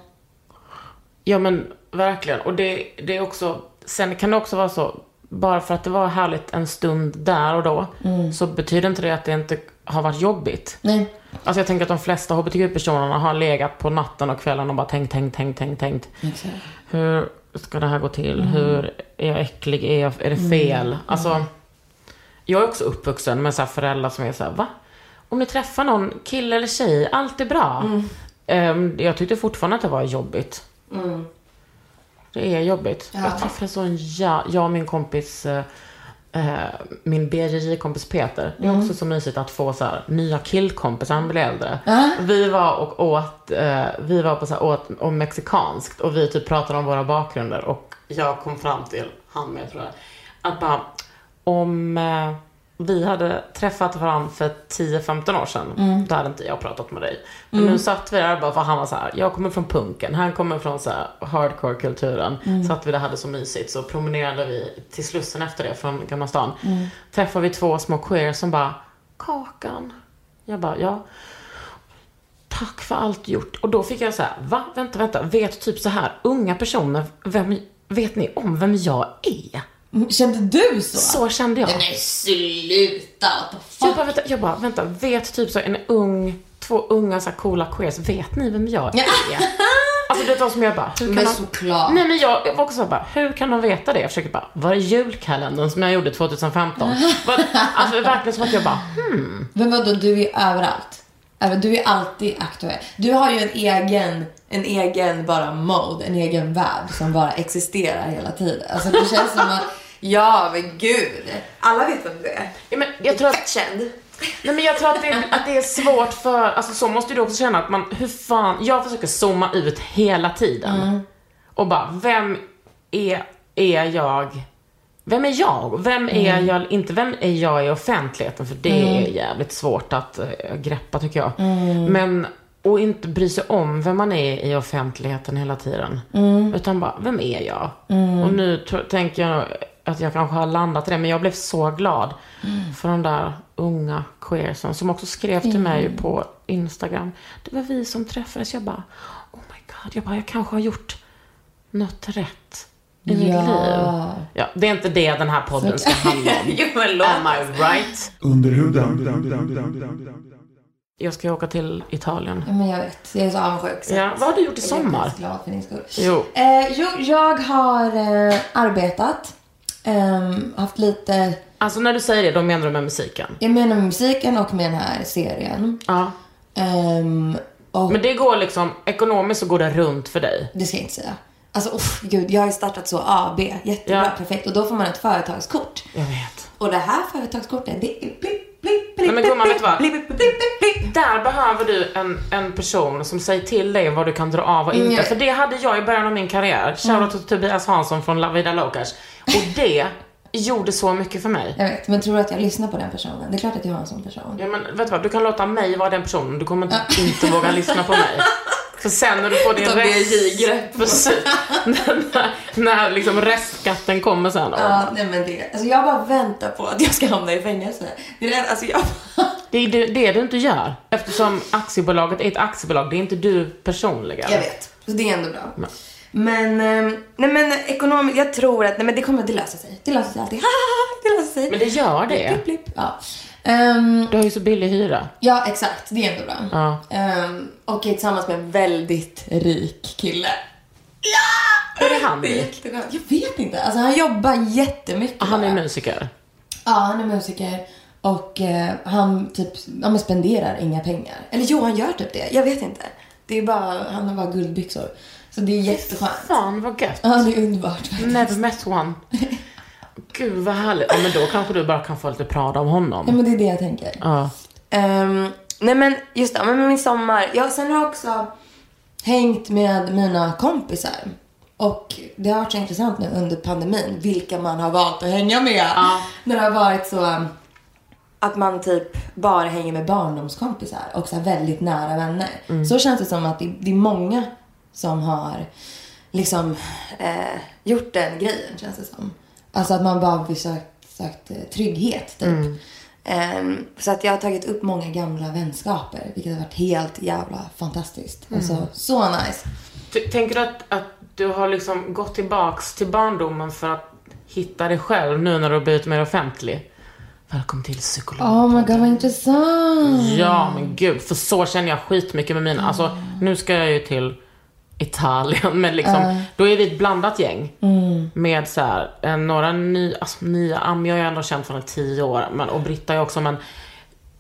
Speaker 1: Ja men verkligen. Och det, det är också, sen kan det också vara så, bara för att det var härligt en stund där och då,
Speaker 2: Mm.
Speaker 1: så betyder inte det att det inte har varit jobbigt.
Speaker 2: Nej.
Speaker 1: Alltså jag tänker att de flesta hbtq-personerna har legat på natten och kvällen och bara tänkt, tänkt, tänkt, tänkt, tänkt. Hur ska det här gå till? Hur är jag äcklig? Är, jag, är det fel? Alltså, jag är också uppvuxen med så här föräldrar som är så här, va? Om ni träffar någon, kille eller tjej, allt är bra. Ehm, jag tyckte fortfarande att det var jobbigt. Det är jobbigt. Jag träffade så en ja, jag och min kompis, eh, eh, min BJJ-kompis Peter. Det är också så mysigt att få så här, nya killkompisar, han blir äldre. Vi var och åt, eh, vi var på så här, åt om mexikanskt och vi typ pratade om våra bakgrunder och jag kom fram till, han med tror jag, att bara, om eh, vi hade träffat varandra för 10-15 år sedan,
Speaker 2: Mm.
Speaker 1: då hade inte jag pratat med dig. Men nu satt vi där bara för han var så här, jag kommer från punken, han kommer från så här hardcore-kulturen.
Speaker 2: Mm.
Speaker 1: Satt vi där hade så mysigt, så promenerade vi till Slussen efter det från Gamla stan.
Speaker 2: Mm.
Speaker 1: Träffade vi två små queer som bara, Kakan. Jag bara, ja. Tack för allt gjort. Och då fick jag så här, va? Vänta, vänta. Vet typ så här unga personer, vem, vet ni om vem jag är?
Speaker 2: Kände du så?
Speaker 1: Så kände jag.
Speaker 2: Nej, sluta! What the
Speaker 1: Jag
Speaker 2: fuck?
Speaker 1: bara, vänta, jag bara, vänta, vet typ så en ung, två unga så här coola queers, vet ni vem jag är? alltså det var som jag bara, hur kan
Speaker 2: Men
Speaker 1: de-
Speaker 2: såklart.
Speaker 1: Nej men jag, jag var också så här bara, hur kan de veta det? Jag försöker bara, var är julkalendern som jag gjorde 2015? Var, alltså verkligen som att jag bara,
Speaker 2: Men vadå, du är överallt. Även- Du är alltid aktuell. Du har ju en egen, en egen bara mode, en egen värld som bara existerar hela tiden. Alltså det känns som att, ja men gud. Alla vet vem du är.
Speaker 1: ja, men jag tror att,
Speaker 2: känd.
Speaker 1: nej men jag tror att det, är- att det är svårt för, alltså så måste du också känna att man, hur fan, jag försöker zooma ut hela tiden. Och bara, vem är, är jag? Vem är jag? Vem är jag inte? Vem är jag i offentligheten? För det är jävligt svårt att eh, greppa tycker jag. Men, och inte bry sig om vem man är i offentligheten hela tiden. Utan bara, vem är jag? Och nu tro- tänker jag att jag kanske har landat i det, men jag blev så glad för de där unga queersen som också skrev till mig på Instagram. Det var vi som träffades. Jag bara, oh my god, jag, bara, jag kanske har gjort något rätt i mitt
Speaker 2: Ja.
Speaker 1: liv. Ja, det är inte det den här podden ska handla om. Am I right?
Speaker 6: Underhuden.
Speaker 1: Jag ska ju åka till Italien.
Speaker 2: Ja, men jag vet. Jag är så avundsjuk. så
Speaker 1: Ja,
Speaker 2: att
Speaker 1: vad har du gjort i
Speaker 2: jag är
Speaker 1: sommar?
Speaker 2: faktiskt glad för din skull.
Speaker 1: Jo.
Speaker 2: Eh, jo, jag har eh, arbetat. ehm, haft lite,
Speaker 1: Alltså när du säger det, då menar du med musiken?
Speaker 2: jag menar med musiken och med den här serien.
Speaker 1: Ja.
Speaker 2: Ehm, och
Speaker 1: Men det går liksom, ekonomiskt så går det runt för dig.
Speaker 2: det ska jag inte säga. Alltså, uff, gud, jag har ju startat så AB. Jättebra,
Speaker 1: Ja.
Speaker 2: perfekt. Och då får man ett företagskort.
Speaker 1: Jag vet.
Speaker 2: Och det här företagskortet, det är blipp, blipp,
Speaker 1: Nej,
Speaker 2: blipp,
Speaker 1: men gumman, vet du vad?
Speaker 2: blipp, blipp, blipp, blipp, blipp.
Speaker 1: Där behöver du en, en person som säger till dig vad du kan dra av och inte.
Speaker 2: Mm.
Speaker 1: För det hade jag i början av min karriär. Shoutout till Tobias Hansson från La Vida Locas. Och det gjorde så mycket för mig.
Speaker 2: Jag vet, men tror du att jag lyssnar på den personen? Det är klart att jag har en sån person.
Speaker 1: Ja men vet du vad, du kan låta mig vara den personen, du kommer inte, inte våga lyssna på mig. För sen när du får din
Speaker 2: Utan BJ-grepp.
Speaker 1: rest... Precis. när, när, när liksom restskatten kommer sen.
Speaker 2: Ja, nej men det. Alltså jag bara väntar på att jag ska hamna i fängelse. Det är det, alltså jag
Speaker 1: Det är det, det du inte gör. Eftersom aktiebolaget är ett aktiebolag, det är inte du personligen.
Speaker 2: Jag vet. Så det är ändå bra. Men, ehm, nej men ekonomiskt, jag tror att, nej men det kommer, det löser sig. Det löser sig alltid. det löser sig.
Speaker 1: Men det gör det.
Speaker 2: Blipp, blipp. Ja. Ehm,
Speaker 1: Du har ju så billig hyra.
Speaker 2: ja, exakt. Det är ändå bra.
Speaker 1: Ja.
Speaker 2: Ehm, och är tillsammans med en väldigt rik kille. Ja!
Speaker 1: Är det han
Speaker 2: Det är
Speaker 1: rik?
Speaker 2: jätteskönt. Jag vet inte. Alltså han jobbar jättemycket.
Speaker 1: Ah, Han är
Speaker 2: bara.
Speaker 1: musiker.
Speaker 2: Ja, han är musiker. Och eh, han typ, ja men spenderar inga pengar. Eller jo, han gör typ det. Jag vet inte. Det är bara, han har bara guldbyxor. Så det är jätteskönt.
Speaker 1: Fan Mm. vad gött.
Speaker 2: Ja, det är underbart faktiskt.
Speaker 1: Never met one. Gud vad härligt. Ja men då kanske du bara kan få lite prata om
Speaker 2: Ja,
Speaker 1: honom.
Speaker 2: men det är det jag tänker.
Speaker 1: Ja.
Speaker 2: Ehm, nej men just det, men min sommar. Jag, sen har jag också hängt med mina kompisar. Och det har varit så intressant nu under pandemin vilka man har valt att hänga med. När det har varit så um, att man typ bara hänger med barndomskompisar och så här väldigt nära vänner. Så känns det som att det, det är många som har liksom eh, gjort den grejen känns det som. Alltså att man bara försökt, sökt eh, trygghet typ. Ehm, så att jag har tagit upp många gamla vänskaper vilket har varit helt jävla fantastiskt. Alltså så nice.
Speaker 1: Ty- Tänker du att, att du har liksom gått tillbaks till barndomen för att hitta dig själv nu när du har blivit mer offentlig? Välkommen till psykolog.
Speaker 2: Oh my god vad intressant.
Speaker 1: Ja men gud, för så känner jag skitmycket med mina. Alltså nu ska jag ju till Italien men liksom, då är vi ett blandat gäng. Med så här, eh, några nya, alltså nya, Ami har jag ändå känt från tio år men, och Britta jag också men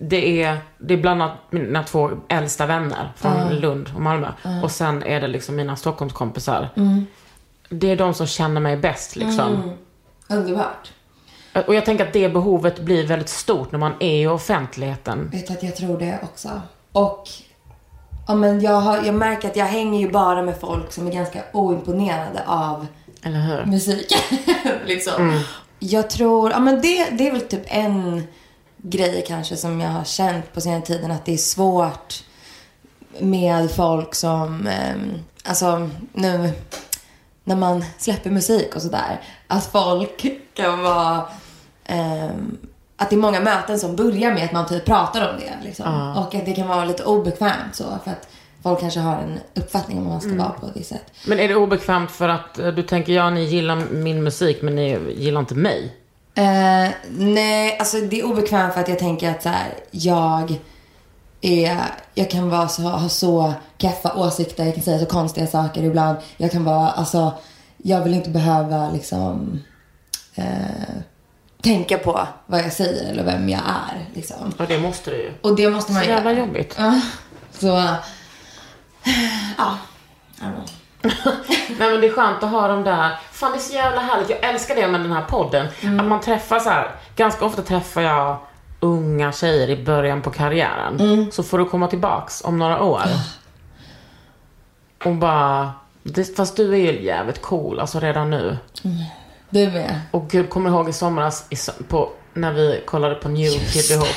Speaker 1: det är, det är bland annat mina två äldsta vänner från Lund och Malmö. Och sen är det liksom mina Stockholmskompisar. Det är de som känner mig bäst liksom.
Speaker 2: Underbart.
Speaker 1: Och jag tänker att det behovet blir väldigt stort när man är i offentligheten.
Speaker 2: Vet att jag tror det också. Och ja, men jag, har, jag märker att jag hänger ju bara med folk som är ganska oimponerade av
Speaker 1: Eller hur?
Speaker 2: musik. liksom. Jag tror, ja men det, det är väl typ en grej kanske som jag har känt på senare tiden att det är svårt med folk som, ehm, alltså nu när man släpper musik och sådär, att folk kan vara, ehm, att det är många möten som börjar med att man typ pratar om det liksom. Och att det kan vara lite obekvämt så för att folk kanske har en uppfattning om vad man ska vara på ett visst sätt.
Speaker 1: Men är det obekvämt för att eh, du tänker, ja ni gillar min musik men ni gillar inte mig?
Speaker 2: Eh, nej, alltså det är obekvämt för att jag tänker att så här, jag är, jag kan vara så, ha så keffa åsikter, jag kan säga så konstiga saker ibland. Jag kan vara, alltså, jag vill inte behöva liksom eh, tänka på vad jag säger eller vem jag är liksom.
Speaker 1: Ja det måste du ju.
Speaker 2: Och det måste man
Speaker 1: Så
Speaker 2: göra.
Speaker 1: jävla jobbigt.
Speaker 2: Ja, så, ja. I don't know.
Speaker 1: Nej men det är skönt att ha dem där. Fan det är så jävla härligt, jag älskar det med den här podden.
Speaker 2: Mm.
Speaker 1: Att man träffar så här, ganska ofta träffar jag unga tjejer i början på karriären.
Speaker 2: Mm.
Speaker 1: Så får du komma tillbaks om några år. Och bara, det, fast du är ju jävligt cool, alltså redan nu.
Speaker 2: Du med.
Speaker 1: Och gud, kommer du ihåg i somras i, so- på, när vi kollade på New Kid ihop?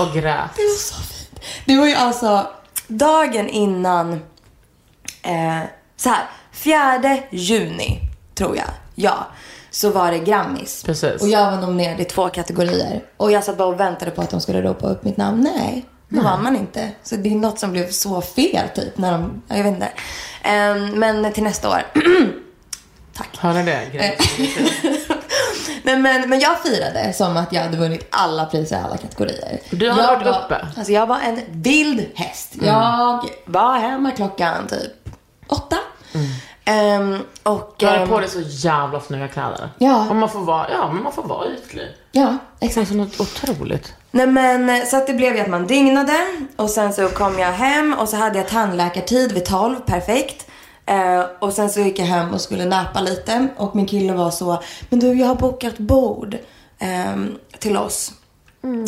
Speaker 1: Och grät.
Speaker 2: Det var så fint. Det var ju alltså dagen innan, eh, så här, 4 juni tror jag, ja, så var det Grammis.
Speaker 1: Precis.
Speaker 2: Och jag var nominerad i två kategorier. Och jag satt bara och väntade på att de skulle ropa upp mitt namn. Nej, det vann man inte. Så det är något som blev så fel typ när de, jag vet inte. Ehm, Eh, men till nästa år.
Speaker 1: Hör ni det? Grej.
Speaker 2: Nej Nej, men, men jag firade som att jag hade vunnit alla priser i alla kategorier.
Speaker 1: Du har
Speaker 2: jag
Speaker 1: varit
Speaker 2: var,
Speaker 1: uppe. Mm.
Speaker 2: Alltså jag var en vild häst. Jag var hemma klockan typ åtta. Ehm, och,
Speaker 1: Mm. Du har
Speaker 2: ehm,
Speaker 1: på dig så jävla snygga kläder.
Speaker 2: Ja.
Speaker 1: Och man får vara, ja men man får vara ytlig.
Speaker 2: Ja,
Speaker 1: Det är
Speaker 2: exakt.
Speaker 1: så något otroligt.
Speaker 4: Nej men eh, så att det blev
Speaker 2: blev ju att man dygnade och sen så kom jag hem och så hade jag tandläkartid vid 12, perfekt. Eh, och sen så gick jag hem och skulle napa lite och min kille var så, men du jag har bokat bord ehm, till oss.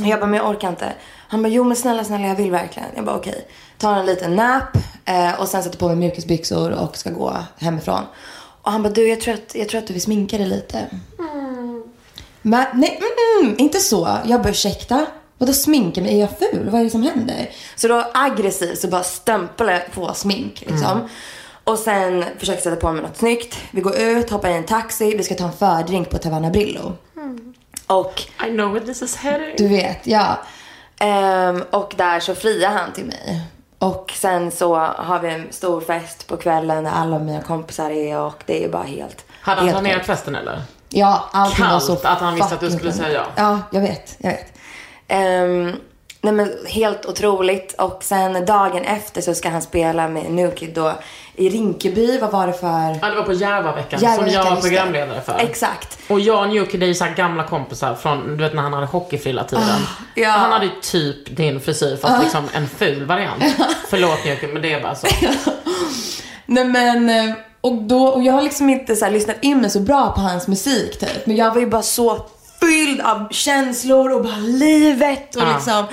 Speaker 2: Jag bara, men jag orkar inte. Han bara, jo men snälla, snälla jag vill verkligen. Jag bara okej. Tar en liten nap eh, och sen sätter på mig mjukisbyxor och ska gå hemifrån. Och han bara, du jag tror att, jag tror att du vill sminka dig lite. Men, nej, mm, mm, inte så. Jag bara ursäkta. Vadå sminka mig? Är jag ful? Vad är det som händer? Så då aggressivt så bara stämplar jag på smink liksom. Och sen försöker sätta på mig något snyggt. Vi går ut, hoppar i en taxi. Vi ska ta en fördrink på Taverna Brillo. Och
Speaker 1: I know where this is heading.
Speaker 2: du vet, ja. Ehm, och där så friar han till mig. Och sen så har vi en stor fest på kvällen där alla mina kompisar är och det är bara helt...
Speaker 1: Hade han
Speaker 2: helt
Speaker 1: planerat
Speaker 2: sjukt.
Speaker 1: festen eller?
Speaker 2: Ja, allt var
Speaker 1: Kallt
Speaker 2: så
Speaker 1: att han visste att du
Speaker 2: fucking
Speaker 1: skulle
Speaker 2: skönt.
Speaker 1: säga ja.
Speaker 2: Ja, jag vet. Jag vet. Ehm, nej men helt otroligt. Och sen dagen efter så ska han spela med Nukid då i Rinkeby. Vad var det för...
Speaker 1: Ja, det var på Järvaveckan som
Speaker 2: Järvaveckan,
Speaker 1: jag var
Speaker 2: just det.
Speaker 1: programledare för.
Speaker 2: Exakt.
Speaker 1: Och jag och Newkid är ju så här gamla kompisar från, du vet när han hade hockeyfrilla-tiden.
Speaker 2: Ah, ja. Ah.
Speaker 1: Han hade ju typ din frisyr fast liksom en ful variant. Förlåt Newkid men det är bara så.
Speaker 2: Nej men, eh, och, då, och jag har liksom inte så här, lyssnat in mig så bra på hans musik typ. Men jag var ju bara så fylld av känslor och bara livet och
Speaker 1: Ja.
Speaker 2: liksom.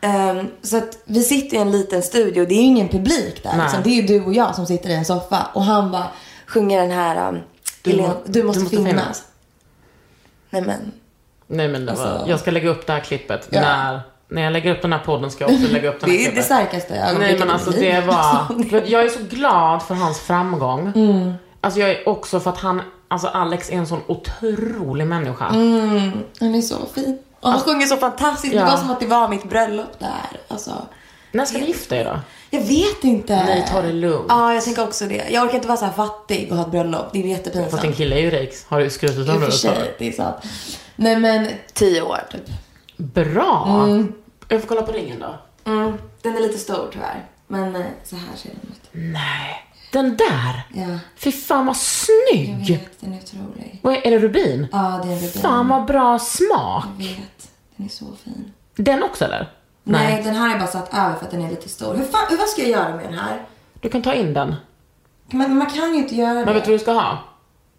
Speaker 2: ehm, så att vi sitter i en liten studio, det är ju ingen publik där.
Speaker 1: Nej.
Speaker 2: Liksom. Det är ju du och jag som sitter i en soffa och han bara sjunger den här um,
Speaker 1: Du
Speaker 2: du,
Speaker 1: må-
Speaker 2: du måste finnas. Nej men,
Speaker 1: Nej men det var,
Speaker 2: Alltså-
Speaker 1: jag ska lägga upp det här klippet
Speaker 2: Ja.
Speaker 1: när, när jag lägger upp den här podden ska jag också lägga upp den här
Speaker 2: det är det
Speaker 1: klippet.
Speaker 2: starkaste
Speaker 1: Nej
Speaker 2: ögonblicket
Speaker 1: men
Speaker 2: i
Speaker 1: alltså
Speaker 2: mitt liv.
Speaker 1: det var,
Speaker 2: Alltså,
Speaker 1: för att jag är så glad för hans framgång.
Speaker 2: Mm.
Speaker 1: Alltså jag är också för att han, alltså Alex är en sån otrolig människa.
Speaker 2: Mm. Han är så fin. Och han sjunger så fantastiskt.
Speaker 1: Ja.
Speaker 2: Det var som att det var mitt bröllop där. Alltså.
Speaker 1: När ska ni gifta er då?
Speaker 2: Jag vet inte.
Speaker 1: Nej, ta det lugnt.
Speaker 2: Ja, jag tänker också det. Jag orkar inte vara så här fattig och ha ett bröllop. Det är
Speaker 1: För att
Speaker 2: jättepinsamt.
Speaker 1: din kille är ju rik, har du skrutit om
Speaker 2: I och för
Speaker 1: det ett tag.
Speaker 2: sig, det är sant. Nej men, tio år typ.
Speaker 1: Bra! Jag får kolla på ringen då.
Speaker 2: Mm. Den är lite stor tyvärr. Men eh, så här ser den ut.
Speaker 1: Nej. Den där!
Speaker 2: Ja,
Speaker 1: Fy fan vad snygg!
Speaker 2: jag vet. Den är otrolig.
Speaker 1: Vad är, är det rubin?
Speaker 2: Mm. Ja, det är en rubin. Mm.
Speaker 1: Fan vad bra smak!
Speaker 2: Jag vet. Den är så fin.
Speaker 1: Den också eller?
Speaker 2: Nej. den här är bara satt över för att den är lite stor. Hur fan, vad ska jag göra med den här?
Speaker 1: Du kan ta in den.
Speaker 2: Man, man kan ju inte göra det.
Speaker 1: Men vet du vad du ska ha?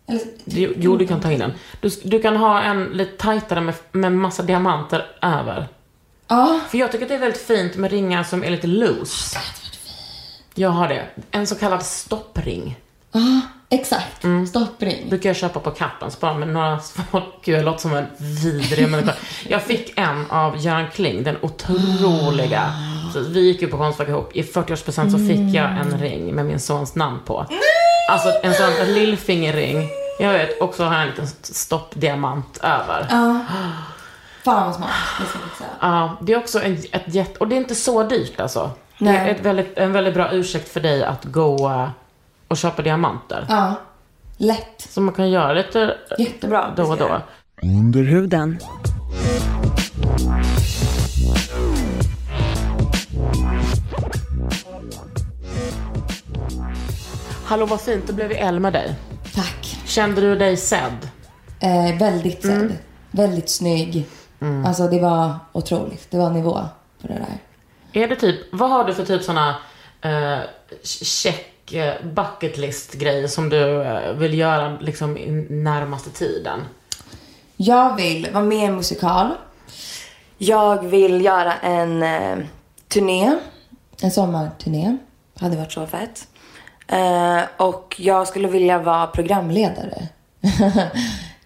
Speaker 2: Eller,
Speaker 1: Jo, jo, du kan ta in den. Du, du kan ha en lite tajtare med, med massa diamanter över.
Speaker 2: ja.
Speaker 1: För jag tycker att det är väldigt fint med ringar som är lite loose. Jag har det. En så kallad stoppring.
Speaker 2: Ja, exakt. Stoppring.
Speaker 1: brukar jag köpa på Kappens bara med några små... Gud, jag låter som en vidrig människa. Jag fick en av Göran Kling, den otroliga. Så vi gick ju på Konstfack ihop. I 40-årspresent så fick jag
Speaker 2: Mm.
Speaker 1: en ring med min sons namn på. Alltså en sån en lillfingerring. Jag vet, och så har jag en liten stoppdiamant över. Ja,
Speaker 2: Fan vad smart. Det ska jag säga.
Speaker 1: det är också en, ett jätte... Och det är inte så dyrt alltså. Det är
Speaker 2: Nej.
Speaker 1: ett väldigt, en väldigt bra ursäkt för dig att gå eh, och köpa diamanter.
Speaker 2: Ja. Lätt.
Speaker 1: Så man kan göra lite
Speaker 2: Jättebra.
Speaker 1: då och då.
Speaker 3: Under huden.
Speaker 1: Hallå vad fint, det blev i L med dig.
Speaker 2: Tack.
Speaker 1: Kände du dig sedd?
Speaker 2: Eh, väldigt sedd.
Speaker 4: Mm.
Speaker 2: Väldigt snygg. Alltså det var otroligt. Det var nivå på det där.
Speaker 1: Är det typ, vad har du för typ såna eh, check eh, bucket list grejer som du eh, vill göra liksom i närmaste tiden?
Speaker 2: Alltså. Jag vill vara med i en musikal.
Speaker 4: Jag vill göra en eh, turné.
Speaker 2: En sommarturné.
Speaker 4: Hade varit så fett. Eh, och jag skulle vilja vara program...
Speaker 2: Programledare.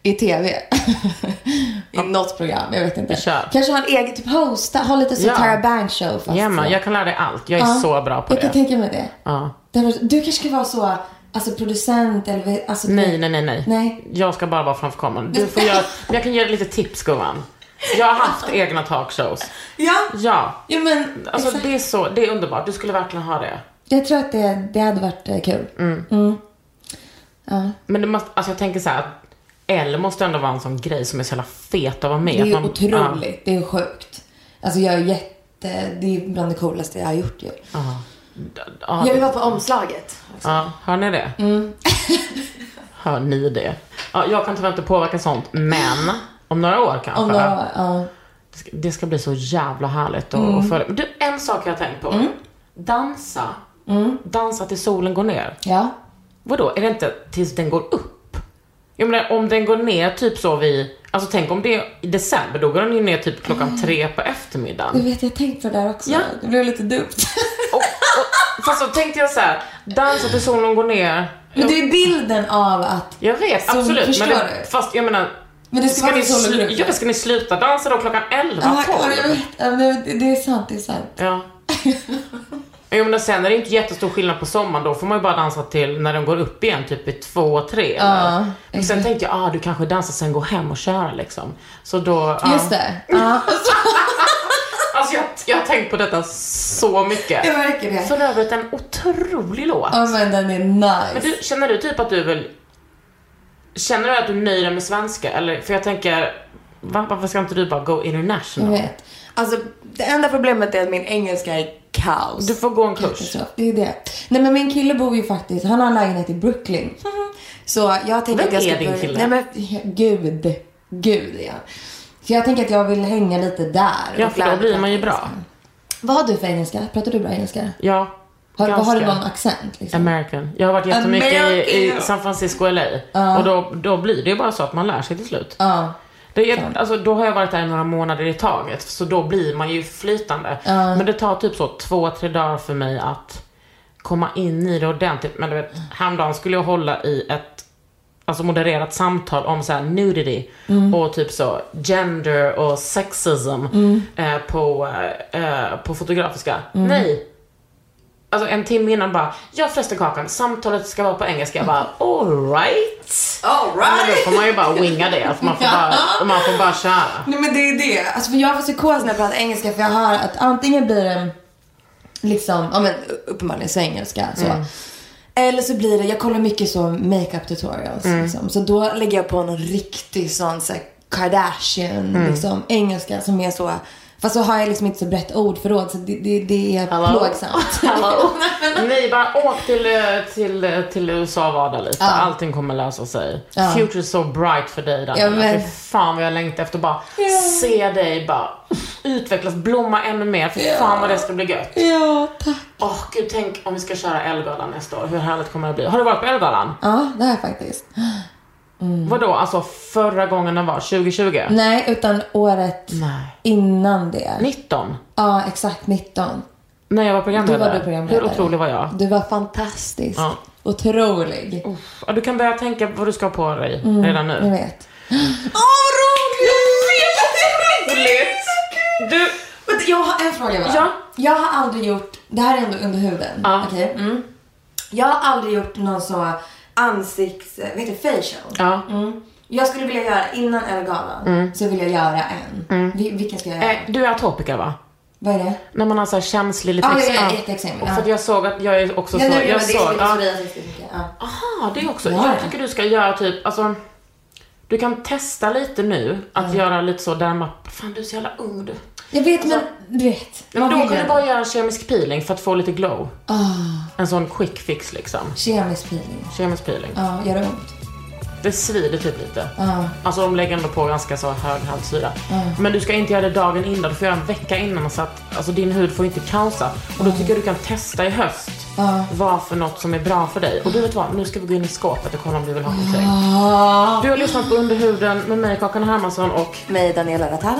Speaker 2: I tv. I något program. Jag vet inte.
Speaker 1: Kör.
Speaker 2: Kanske ha en egen, typ hosta. Ha lite så
Speaker 1: Ja.
Speaker 2: Tara Banks show. Fast
Speaker 1: Gemma, jag kan lära dig allt. Jag är så bra på
Speaker 2: jag Jag
Speaker 1: det.
Speaker 2: kan tänka mig det.
Speaker 1: Ja.
Speaker 2: Det var- Du kanske ska vara så, alltså producent eller... Alltså,
Speaker 1: Nej, nej, nej, nej,
Speaker 2: Nej.
Speaker 1: Jag ska bara vara framför kameran. Du får göra, men jag kan ge dig lite tips gumman. Jag har haft egna talkshows.
Speaker 2: Ja,
Speaker 1: Ja.
Speaker 2: ja men
Speaker 1: Alltså
Speaker 2: exakt.
Speaker 1: det är så, det är underbart. Du skulle verkligen ha det.
Speaker 2: Jag tror att det, det hade varit eh, kul.
Speaker 1: Men du måste, alltså jag tänker så här, att L måste ändå vara en sån grej som är så jävla fet att vara med.
Speaker 2: Det är ju
Speaker 1: Att man-
Speaker 2: otroligt. Det är sjukt. Alltså jag är jätte... Det är bland det coolaste jag har gjort ju.
Speaker 1: Ja,
Speaker 4: Jag
Speaker 1: ja,
Speaker 4: vill vara på omslaget.
Speaker 1: ja, hör ni det?
Speaker 2: Mm.
Speaker 1: hör ni det? Ja, jag kan tyvärr inte påverka sånt, men om några år kanske.
Speaker 2: Om några, ja.
Speaker 1: Det ska- Det ska bli så jävla härligt att
Speaker 2: Mm.
Speaker 1: att följa. Men Du, en sak jag har tänkt på. Dansa.
Speaker 2: Mm.
Speaker 1: Dansa till solen går ner.
Speaker 2: ja.
Speaker 1: Vadå, är det inte tills den går upp? Jag menar om den går ner typ så vid, alltså tänk om det är i december, då går den ju ner typ
Speaker 2: Mm.
Speaker 1: klockan tre på
Speaker 2: Jag
Speaker 1: eftermiddagen.
Speaker 2: vet, jag har tänkt på det där också.
Speaker 1: Ja.
Speaker 2: Det blev lite dumt.
Speaker 1: Och, och, fast så tänkte jag så här, dansa till solen går ner.
Speaker 2: Men det är bilden av att...
Speaker 1: Jag vet,
Speaker 2: Som-
Speaker 1: absolut.
Speaker 2: förstår
Speaker 1: Men det,
Speaker 2: du?
Speaker 1: fast jag menar,
Speaker 2: Men det ska,
Speaker 1: ska
Speaker 2: vara
Speaker 1: ni,
Speaker 2: så solen
Speaker 1: slu-
Speaker 2: går upp.
Speaker 1: ja, ska ni sluta dansa då klockan
Speaker 2: Ja,
Speaker 1: 11,
Speaker 2: ja, jag
Speaker 1: 12?
Speaker 2: vet. Ja, men det- Det är sant, det är sant.
Speaker 1: Ja. Jo men sen är det inte jättestor skillnad på sommaren, då får man ju bara dansa till när den går upp igen, typ vid två, tre. eller? Men sen tänkte jag, ah, du kanske dansar sen gå hem och köra liksom. Så då, ja.
Speaker 2: Just det. Ja.
Speaker 1: Alltså jag, jag har tänkt på detta så mycket.
Speaker 2: Det verkar det.
Speaker 1: För övrigt en otrolig låt.
Speaker 2: Ja, men den är nice.
Speaker 1: Men du, känner du typ att du vill... Känner du att du nöjer dig med svenska? Eller, för jag tänker, va, varför ska inte du bara go
Speaker 2: Jag
Speaker 1: international?
Speaker 2: vet.
Speaker 4: Alltså, det enda problemet är att min engelska är kaos.
Speaker 1: Du får gå en kurs.
Speaker 2: Så, det är det. Nej men min kille bor ju faktiskt, han har en lägenhet i Brooklyn.
Speaker 4: Mm-hmm.
Speaker 2: Så jag tänker
Speaker 1: Vem
Speaker 2: att jag
Speaker 1: är
Speaker 2: ska
Speaker 1: din
Speaker 2: börja-
Speaker 1: kille?
Speaker 2: Nej men gud, gud ja. Så jag tänker att jag vill hänga lite där.
Speaker 1: Ja,
Speaker 2: och
Speaker 1: för då
Speaker 2: lära
Speaker 1: blir
Speaker 2: mig
Speaker 1: man ju bra.
Speaker 2: engelska. Vad har du för engelska? Pratar du bra engelska?
Speaker 1: Ja,
Speaker 2: Har,
Speaker 1: ganska.
Speaker 2: har du någon accent? Liksom?
Speaker 1: American. Jag har varit jättemycket i, i
Speaker 2: American.
Speaker 1: San Francisco och LA. Och då, då blir det ju bara så att man lär sig till slut.
Speaker 2: Ja.
Speaker 1: Det är, alltså, då har jag varit där i några månader i taget, så då blir man ju flytande. Men det tar typ så två, tre dagar för mig att komma in i det ordentligt. Men du vet, häromdagen skulle jag hålla i ett alltså modererat samtal om så här nudity och typ så gender och sexism eh, på, eh, på fotografiska. Nej! Alltså en timme innan bara, jag förresten Kakan, samtalet ska vara på engelska. Jag bara, alright! Ja, Men då får man ju bara winga det. Alltså man, får bara, man får bara köra.
Speaker 2: Nej men det är det. Alltså för jag får psykos när jag pratar engelska för jag hör att antingen blir det liksom, ja men uppenbarligen svengelska så.
Speaker 1: Mm.
Speaker 4: Eller så blir det, jag kollar mycket så makeup tutorials
Speaker 1: Mm.
Speaker 4: liksom. Så då lägger jag på någon riktig sån så här Kardashian
Speaker 1: Mm.
Speaker 4: liksom, engelska som är så Fast så har jag liksom inte så brett ordförråd så det, det, det är
Speaker 2: Hello?
Speaker 4: plågsamt.
Speaker 1: Hallå? Nej, bara åk till, eh, till, eh, till USA och vardag lite. Allting kommer lösa sig. Future is so bright för dig Daniela.
Speaker 2: Ja, men-
Speaker 1: Fy fan vad jag längtar efter att bara se dig bara utvecklas, blomma ännu mer. Fy fan vad det ska bli gött.
Speaker 2: Ja, tack.
Speaker 1: Åh gud, tänk om vi ska köra Ellegalan nästa år. Hur härligt kommer det bli? Har du varit på Ellegalan?
Speaker 2: Ja, det har jag faktiskt. Mm.
Speaker 1: Vadå, alltså förra gången den var? 2020?
Speaker 2: Nej, utan året
Speaker 1: Nej.
Speaker 2: innan det.
Speaker 1: 19?
Speaker 2: Ja, exakt 19.
Speaker 1: När jag var programledare.
Speaker 2: Då var du programledare.
Speaker 1: Hur otrolig var jag?
Speaker 2: Du var fantastisk.
Speaker 1: Ja. Oh.
Speaker 2: Otrolig.
Speaker 1: Ja, du kan börja tänka vad du ska ha på dig redan nu.
Speaker 2: Mm. Jag vet.
Speaker 4: Åh, roligt!
Speaker 1: Du,
Speaker 2: Men jag har en fråga bara.
Speaker 1: Ja.
Speaker 2: Jag har aldrig gjort, det här är ändå under huden.
Speaker 1: Ja.
Speaker 2: Okej? Mm.
Speaker 4: Jag har aldrig gjort någon så ansikts... Vad heter det? Facial.
Speaker 1: ja. Mm.
Speaker 4: Jag skulle vilja göra innan Ellegalan.
Speaker 2: Så vill jag göra en. Vi- vilken ska jag göra?
Speaker 1: Eh, du är atopiker va?
Speaker 2: Vad är det?
Speaker 1: När man har så här känslig lite
Speaker 2: Ja, jag
Speaker 1: ex-
Speaker 2: är jätteexem,
Speaker 1: Och
Speaker 2: ja.
Speaker 1: För att jag såg att jag är också
Speaker 2: Ja,
Speaker 1: så.
Speaker 2: nu- men
Speaker 1: Jag
Speaker 2: det är
Speaker 1: såg,
Speaker 2: så
Speaker 1: ja.
Speaker 2: mycket psoriasis, mycket. Ja.
Speaker 1: Aha, det är också.
Speaker 2: Ja.
Speaker 1: Jag tycker du ska göra typ, alltså. Du kan testa lite nu att göra lite så där man, fan du är så jävla ung du.
Speaker 2: Jag vet, men du vet.
Speaker 1: Men
Speaker 2: man
Speaker 1: då
Speaker 2: vill
Speaker 1: kan du
Speaker 2: ju-
Speaker 1: bara göra en kemisk peeling för att få lite glow. En sån quick fix liksom.
Speaker 2: Ah, Kemisk peeling.
Speaker 1: Kemisk peeling.
Speaker 2: Ja, gör det ont?
Speaker 1: Det svider typ lite. Alltså de lägger ändå på ganska så hög halssyra. Men du ska inte göra det dagen innan, du får göra en vecka innan så att alltså, din hud får inte kaosa. Och då tycker jag du kan testa i höst vad för något som är bra för dig. Och du vet vad, nu ska vi gå in i skåpet och kolla om du vill ha någonting. Du har lyssnat på Underhuden med mig Kakan Hermansson och
Speaker 4: Mig, Daniela Ratana.